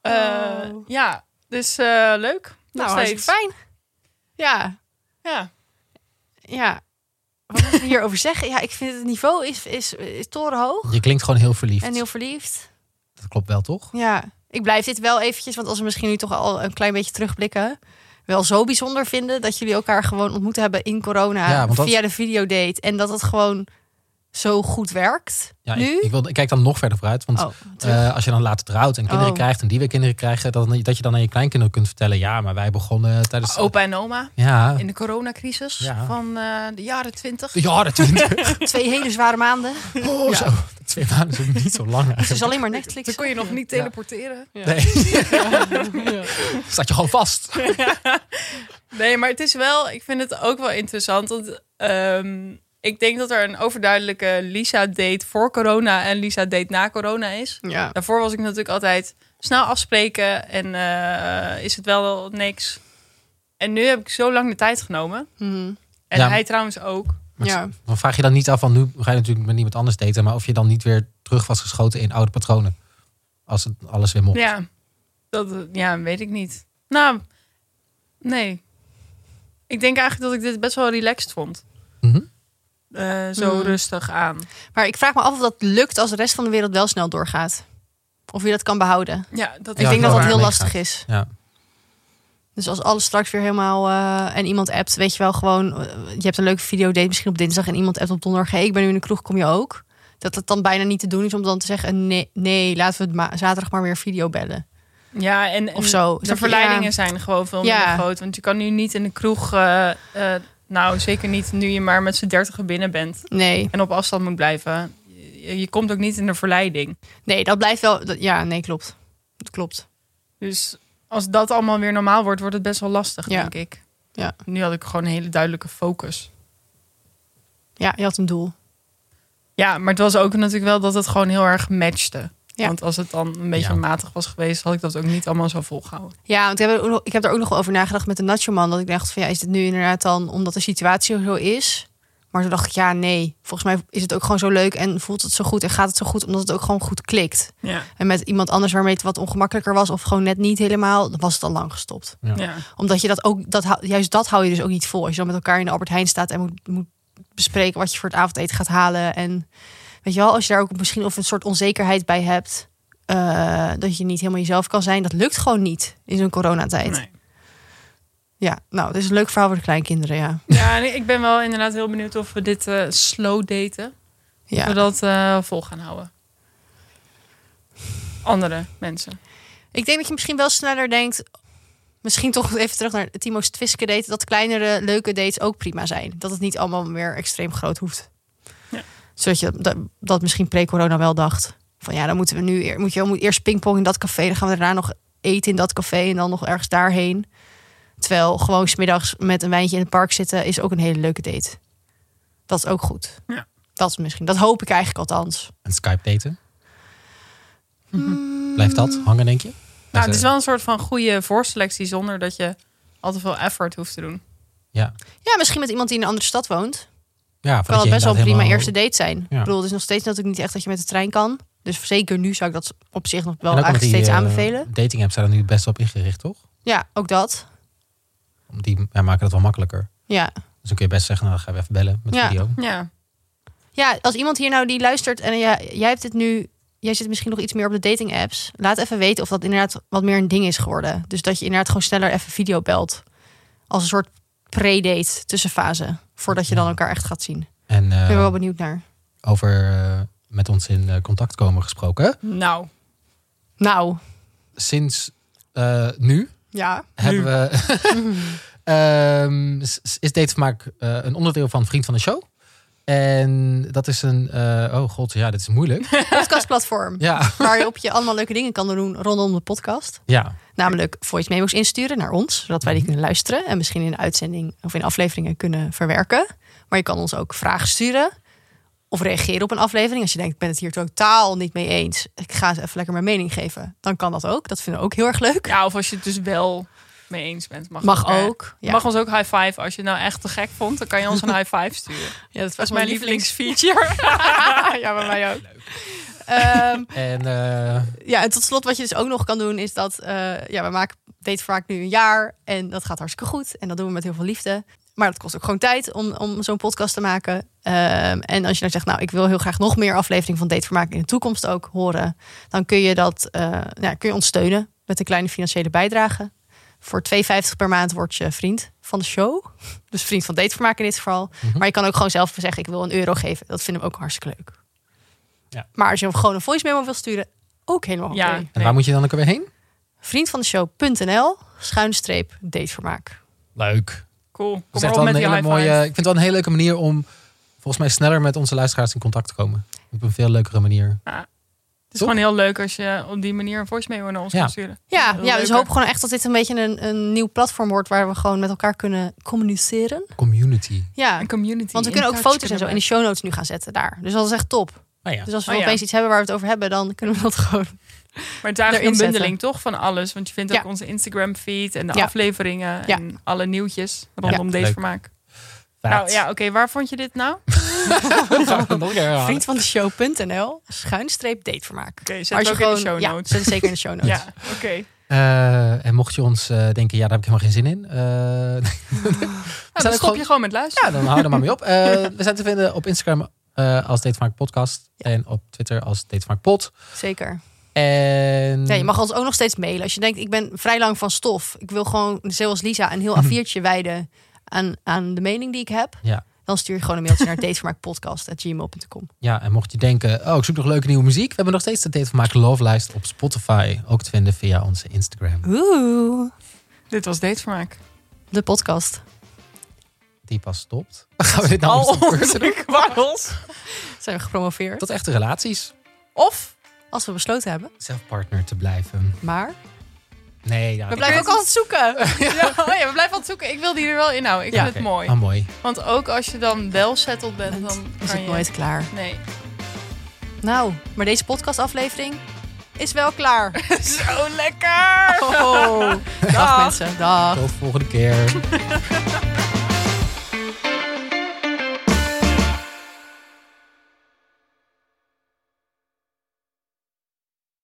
Speaker 1: Eh,
Speaker 2: Oh.
Speaker 1: Ja, dus eh, leuk. Nog
Speaker 2: Nou, hartstikke
Speaker 1: steeds.
Speaker 2: fijn. Ja,
Speaker 1: Ja.
Speaker 2: ja. Wat moet ik hierover zeggen? Ja, ik vind het niveau is, is, is torenhoog.
Speaker 3: Je klinkt gewoon heel verliefd.
Speaker 2: En heel verliefd.
Speaker 3: Dat klopt wel, toch?
Speaker 2: Ja, ik blijf dit wel eventjes, want als we misschien nu toch al een klein beetje terugblikken, wel zo bijzonder vinden dat jullie elkaar gewoon ontmoet hebben in corona
Speaker 3: Ja, want dat-
Speaker 2: via de videodate en dat het gewoon zo goed werkt.
Speaker 3: Ja,
Speaker 2: nu?
Speaker 3: Ik, ik, wil, ik kijk dan nog verder vooruit. Want
Speaker 2: oh, terug.
Speaker 3: eh, als je dan later trouwt en kinderen
Speaker 2: Oh.
Speaker 3: krijgt en die weer kinderen krijgen, dat, dat je dan aan je kleinkinderen kunt vertellen: ja, maar wij begonnen tijdens.
Speaker 1: Opa en oma
Speaker 3: Ja.
Speaker 1: in de coronacrisis
Speaker 3: Dus, eh, Ja.
Speaker 1: van eh, de jaren twintig.
Speaker 3: Ja, dat twintig.
Speaker 2: Twee hele zware maanden.
Speaker 3: Oh, zo. Twee maanden is ook niet zo lang.
Speaker 2: Het is
Speaker 3: eigenlijk.
Speaker 2: alleen maar Netflix.
Speaker 1: Toen kon je nog niet
Speaker 3: Ja.
Speaker 1: teleporteren.
Speaker 3: Nee. Zat je gewoon vast.
Speaker 1: Nee, maar het is wel, ik vind het ook wel interessant. Want ehm, ik denk dat er een overduidelijke Lisa-date voor corona en Lisa-date na corona is.
Speaker 2: Ja.
Speaker 1: Daarvoor was ik natuurlijk altijd snel afspreken en eh, is het wel niks. En nu heb ik zo lang de tijd genomen.
Speaker 2: Mhm.
Speaker 1: En
Speaker 3: Ja.
Speaker 1: hij trouwens ook.
Speaker 3: Maar
Speaker 2: Ja.
Speaker 3: Dan vraag je dan niet af van nu ga je natuurlijk met niemand anders daten, maar of je dan niet weer terug was geschoten in oude patronen. Als het alles weer mocht.
Speaker 1: Ja, dat ja, weet ik niet. Nou, nee. Ik denk eigenlijk dat ik dit best wel relaxed vond.
Speaker 3: Mhm.
Speaker 1: Eh, zo
Speaker 2: Mm.
Speaker 1: rustig aan.
Speaker 2: Maar ik vraag me af of dat lukt als de rest van de wereld wel snel doorgaat. Of je dat kan behouden.
Speaker 1: Ja, dat
Speaker 3: Ja,
Speaker 2: ik
Speaker 1: wel
Speaker 2: denk dat dat
Speaker 1: waar.
Speaker 2: heel
Speaker 3: Meegaat.
Speaker 2: lastig is.
Speaker 3: Ja.
Speaker 2: Dus als alles straks weer helemaal eh, en iemand appt, weet je wel gewoon, eh, je hebt een leuke videodate misschien op dinsdag en iemand appt op donderdag, hey, ik ben nu in de kroeg, kom je ook? Dat het dan bijna niet te doen is om dan te zeggen, "Eh, nee, nee laten we het ma- zaterdag maar weer video bellen.
Speaker 1: Ja, en, en
Speaker 2: Of zo.
Speaker 1: De
Speaker 2: Snap je?
Speaker 1: verleidingen
Speaker 2: Ja.
Speaker 1: zijn gewoon veel
Speaker 2: Ja.
Speaker 1: minder groot. Want je kan nu niet in de kroeg. eh, eh, nou, zeker niet nu je maar met z'n dertigen binnen bent.
Speaker 2: Nee,
Speaker 1: En op afstand moet blijven. Je, je komt ook niet in de verleiding.
Speaker 2: nee, dat blijft wel, dat, ja, nee, klopt. Dat klopt.
Speaker 1: Dus als dat allemaal weer normaal wordt, wordt het best wel lastig,
Speaker 2: Ja.
Speaker 1: denk ik.
Speaker 2: Ja.
Speaker 1: Nu had ik gewoon een hele duidelijke focus.
Speaker 2: Ja, je had een doel.
Speaker 1: Ja, maar het was ook natuurlijk wel dat het gewoon heel erg matchte.
Speaker 2: Ja.
Speaker 1: Want als het dan een beetje
Speaker 3: Ja.
Speaker 1: matig was geweest, had ik dat ook niet allemaal zo volgehouden.
Speaker 2: Ja, want ik heb, er ook nog- ik heb er ook nog wel over nagedacht met de Nacho Man. Dat ik dacht van ja, is dit nu inderdaad dan omdat de situatie zo is? Maar toen dacht ik ja, nee. Volgens mij is het ook gewoon zo leuk en voelt het zo goed en gaat het zo goed omdat het ook gewoon goed klikt.
Speaker 1: Ja.
Speaker 2: En met iemand anders waarmee het wat ongemakkelijker was of gewoon net niet helemaal, dan was het al lang gestopt.
Speaker 1: ja.
Speaker 2: Omdat je dat ook, dat, hou- juist dat hou je dus ook niet vol. Als je dan met elkaar in de Albert Heijn staat en moet, moet bespreken wat je voor het avondeten gaat halen. En weet je wel, als je daar ook misschien of een soort onzekerheid bij hebt, eh, dat je niet helemaal jezelf kan zijn, dat lukt gewoon niet in zo'n coronatijd.
Speaker 1: Nee.
Speaker 2: Ja, nou, het is een leuk verhaal voor de kleinkinderen, ja.
Speaker 1: Ja, en ik ben wel inderdaad heel benieuwd of we dit eh, slow daten,
Speaker 2: ja.
Speaker 1: we dat eh, vol gaan houden. Andere mensen.
Speaker 2: Ik denk dat je misschien wel sneller denkt. Misschien toch even terug naar Timo's Twiske date. Dat kleinere leuke dates ook prima zijn. Dat het niet allemaal meer extreem groot hoeft.
Speaker 1: Ja.
Speaker 2: Zodat je dat, dat misschien pre-corona wel dacht. Van ja, dan moeten we nu eer- moet je wel moet eerst pingpong in dat café. Dan gaan we daarna nog eten in dat café. En dan nog ergens daarheen. Terwijl gewoon smiddags met een wijntje in het park zitten is ook een hele leuke date. Dat is ook goed.
Speaker 1: Ja.
Speaker 2: Dat is misschien. Dat hoop ik eigenlijk althans.
Speaker 3: En Skype daten. Blijft dat hangen, denk je?
Speaker 1: Hmm.
Speaker 3: eh,
Speaker 1: Nou, het is wel een soort van goede voorselectie zonder dat je al te veel effort hoeft te doen.
Speaker 3: Ja,
Speaker 2: Ja, misschien met iemand die in een andere stad woont.
Speaker 3: ja
Speaker 2: kan
Speaker 3: dat
Speaker 2: het
Speaker 3: je
Speaker 2: best wel een
Speaker 3: inderdaad
Speaker 2: prima
Speaker 3: helemaal-
Speaker 2: eerste date zijn. Ik bedoel, het is nog steeds natuurlijk niet echt dat je met de trein kan. Dus zeker nu zou ik dat op zich nog wel
Speaker 3: En ook omdat
Speaker 2: eigenlijk
Speaker 3: die,
Speaker 2: steeds
Speaker 3: eh,
Speaker 2: aanbevelen.
Speaker 3: Dating apps zijn er nu best op ingericht, toch?
Speaker 2: Ja, ook dat.
Speaker 3: Om Die ja, maken dat wel makkelijker.
Speaker 2: Ja.
Speaker 3: Dus dan kun je best zeggen, nou, dan gaan we even bellen met
Speaker 2: Ja.
Speaker 3: video.
Speaker 1: Ja,
Speaker 2: ja, als iemand hier nou die luistert en ja, jij hebt dit nu... Jij zit misschien nog iets meer op de dating apps. Laat even weten of dat inderdaad wat meer een ding is geworden. Dus dat je inderdaad gewoon sneller even video belt. Als een soort pre-date tussenfase. Voordat je dan elkaar echt gaat zien. Ik
Speaker 3: En eh,
Speaker 2: ben wel benieuwd naar.
Speaker 3: over eh, met ons in eh, contact komen gesproken.
Speaker 1: nou.
Speaker 2: Nou,
Speaker 3: Sinds eh, nu
Speaker 2: ja.
Speaker 3: hebben we. Ehm, s- s- is datevermaak eh een onderdeel van Vriend van de Show? En dat is een. eh, oh god, ja, dit is moeilijk.
Speaker 2: Podcastplatform.
Speaker 3: ja,
Speaker 2: Waar je op je allemaal leuke dingen kan doen rondom de podcast.
Speaker 3: ja,
Speaker 2: Namelijk voice memos insturen naar ons, zodat wij die
Speaker 1: Mhm.
Speaker 2: kunnen luisteren en misschien in de uitzending of in afleveringen kunnen verwerken. Maar je kan ons ook vragen sturen of reageren op een aflevering. Als je denkt, ik ben het hier totaal niet mee eens. Ik ga eens even lekker mijn mening geven. Dan kan dat ook. Dat vinden we ook heel erg leuk.
Speaker 1: Ja, of als je het dus wel mee eens bent. Mag,
Speaker 2: Mag
Speaker 1: hè?
Speaker 2: ook, ja.
Speaker 1: Mag ons ook high five. Als je het nou echt te gek vond, dan kan je ons een high five sturen.
Speaker 2: Ja, dat
Speaker 1: Dat is mijn lievelingsfeature. ja, bij mij ook.
Speaker 3: En eh,
Speaker 2: Ehm, ja, en tot slot wat je dus ook nog kan doen is dat eh, ja, we maken date vaak nu een jaar en dat gaat hartstikke goed en dat doen we met heel veel liefde. Maar dat kost ook gewoon tijd om, om zo'n podcast te maken. Ehm, en als je nou zegt, nou, ik wil heel graag nog meer aflevering van Datevermaak in de toekomst ook horen. Dan kun je dat eh ja, kun je ons steunen met een kleine financiële bijdrage. Voor 2,50 per maand word je vriend van de show. Dus vriend van Datevermaak in dit geval. Maar je kan ook gewoon zelf zeggen, ik wil een euro geven. Dat vinden we ook hartstikke leuk.
Speaker 3: Ja.
Speaker 2: Maar als je hem gewoon een voice memo wil sturen, ook helemaal oké.
Speaker 1: Ja.
Speaker 3: en waar moet je dan ook weer heen?
Speaker 2: Vriendvandeshow.nl schuine streep datevermaak.
Speaker 3: Leuk.
Speaker 1: Cool.
Speaker 3: Dat
Speaker 1: Kom
Speaker 3: is
Speaker 1: maar
Speaker 3: echt
Speaker 1: op
Speaker 3: wel
Speaker 1: met
Speaker 3: een
Speaker 1: die
Speaker 3: hele
Speaker 1: high
Speaker 3: mooie.
Speaker 1: five.
Speaker 3: Ik vind het wel een hele leuke manier om volgens mij sneller met onze luisteraars in contact te komen. Op een veel leukere manier.
Speaker 1: Het is gewoon heel leuk als je op die manier een voice memo naar ons
Speaker 3: Ja.
Speaker 1: kan sturen.
Speaker 2: Ja,
Speaker 1: Heel
Speaker 2: ja dus
Speaker 1: leuker.
Speaker 2: hoop gewoon echt dat dit een beetje een, een nieuw platform wordt waar we gewoon met elkaar kunnen communiceren.
Speaker 3: Community.
Speaker 2: Ja,
Speaker 1: Een community.
Speaker 2: want we
Speaker 1: in
Speaker 2: kunnen ook
Speaker 1: touch
Speaker 2: foto's en zo in de
Speaker 1: kunnen
Speaker 2: show notes nu gaan zetten daar. Dus dat is echt top.
Speaker 3: Nou ja.
Speaker 2: Dus als we
Speaker 1: Oh ja.
Speaker 2: opeens iets hebben waar we het over hebben, dan kunnen we dat gewoon.
Speaker 1: blijven. Maar het is eigenlijk een
Speaker 2: erin
Speaker 1: bundeling toch van alles. Want je vindt ook
Speaker 2: Ja.
Speaker 1: onze Instagram feed en de
Speaker 2: Ja.
Speaker 1: afleveringen
Speaker 2: Ja.
Speaker 1: en alle nieuwtjes rondom
Speaker 3: Ja.
Speaker 1: deze
Speaker 3: Leuk.
Speaker 1: vermaak. Nou
Speaker 3: Vaat.
Speaker 1: ja, oké. waar vond je dit nou? Oké,
Speaker 3: Ga ik dat nog een keer herhalen?
Speaker 2: Vriendvandeshow.nl schuine streep datevermaak.
Speaker 1: zet het ook in de show
Speaker 2: ja,
Speaker 1: notes.
Speaker 2: zet het zeker in de show notes.
Speaker 1: Ja, oké. Nou,
Speaker 3: Eh, en mocht je ons eh, denken, ja, daar heb ik helemaal geen zin in. eh,
Speaker 1: Nou,
Speaker 3: ook
Speaker 1: dan stop
Speaker 3: gewoon-
Speaker 1: je gewoon met luisteren.
Speaker 3: Ja, dan hou er maar mee op. Eh, we zijn te vinden op Instagram eh, als Datemark Podcast. En op Twitter als Datemark Pod.
Speaker 2: Zeker.
Speaker 3: En...
Speaker 2: Ja, je mag ons ook nog steeds mailen. Als je denkt, ik ben vrij lang van stof. Ik wil gewoon, zoals Lisa, een
Speaker 1: Mhm.
Speaker 2: heel A4'tje wijden aan, aan de mening die ik heb.
Speaker 3: Ja.
Speaker 2: Dan stuur je gewoon een mailtje naar datevermaakpodcast.gmail.com.
Speaker 3: Ja, en mocht je denken, oh, ik zoek nog leuke nieuwe muziek. We hebben nog steeds de Datemark Love Lijst op Spotify. Ook te vinden via onze Instagram.
Speaker 2: Oeh,
Speaker 1: Dit was Datevermaak.
Speaker 2: de podcast.
Speaker 3: Die pas stopt. Gaan we dit nou
Speaker 1: Al
Speaker 3: stoppen?
Speaker 1: onze kwarrels.
Speaker 2: Zijn we gepromoveerd.
Speaker 3: Tot echte relaties.
Speaker 1: Of
Speaker 2: Als we besloten hebben.
Speaker 3: Zelf partner te blijven.
Speaker 2: Maar...
Speaker 3: Nee, ja.
Speaker 1: We
Speaker 3: dat-
Speaker 1: blijven
Speaker 2: Blijf
Speaker 1: ook
Speaker 2: ook altijd zoeken.
Speaker 1: Ja. oh ja, we blijven aan het zoeken. Ik wil die er wel in houden. Ik
Speaker 3: Ja,
Speaker 1: vind het
Speaker 3: oké.
Speaker 1: mooi.
Speaker 3: Ah, mooi.
Speaker 1: Want ook als je dan wel settled bent, dan kan
Speaker 2: Is het
Speaker 1: je-
Speaker 2: nooit klaar.
Speaker 1: Nee.
Speaker 2: Nou, maar deze podcastaflevering is wel klaar.
Speaker 1: Zo lekker! Oh.
Speaker 2: Oh. Dag mensen, dag.
Speaker 3: Tot volgende keer.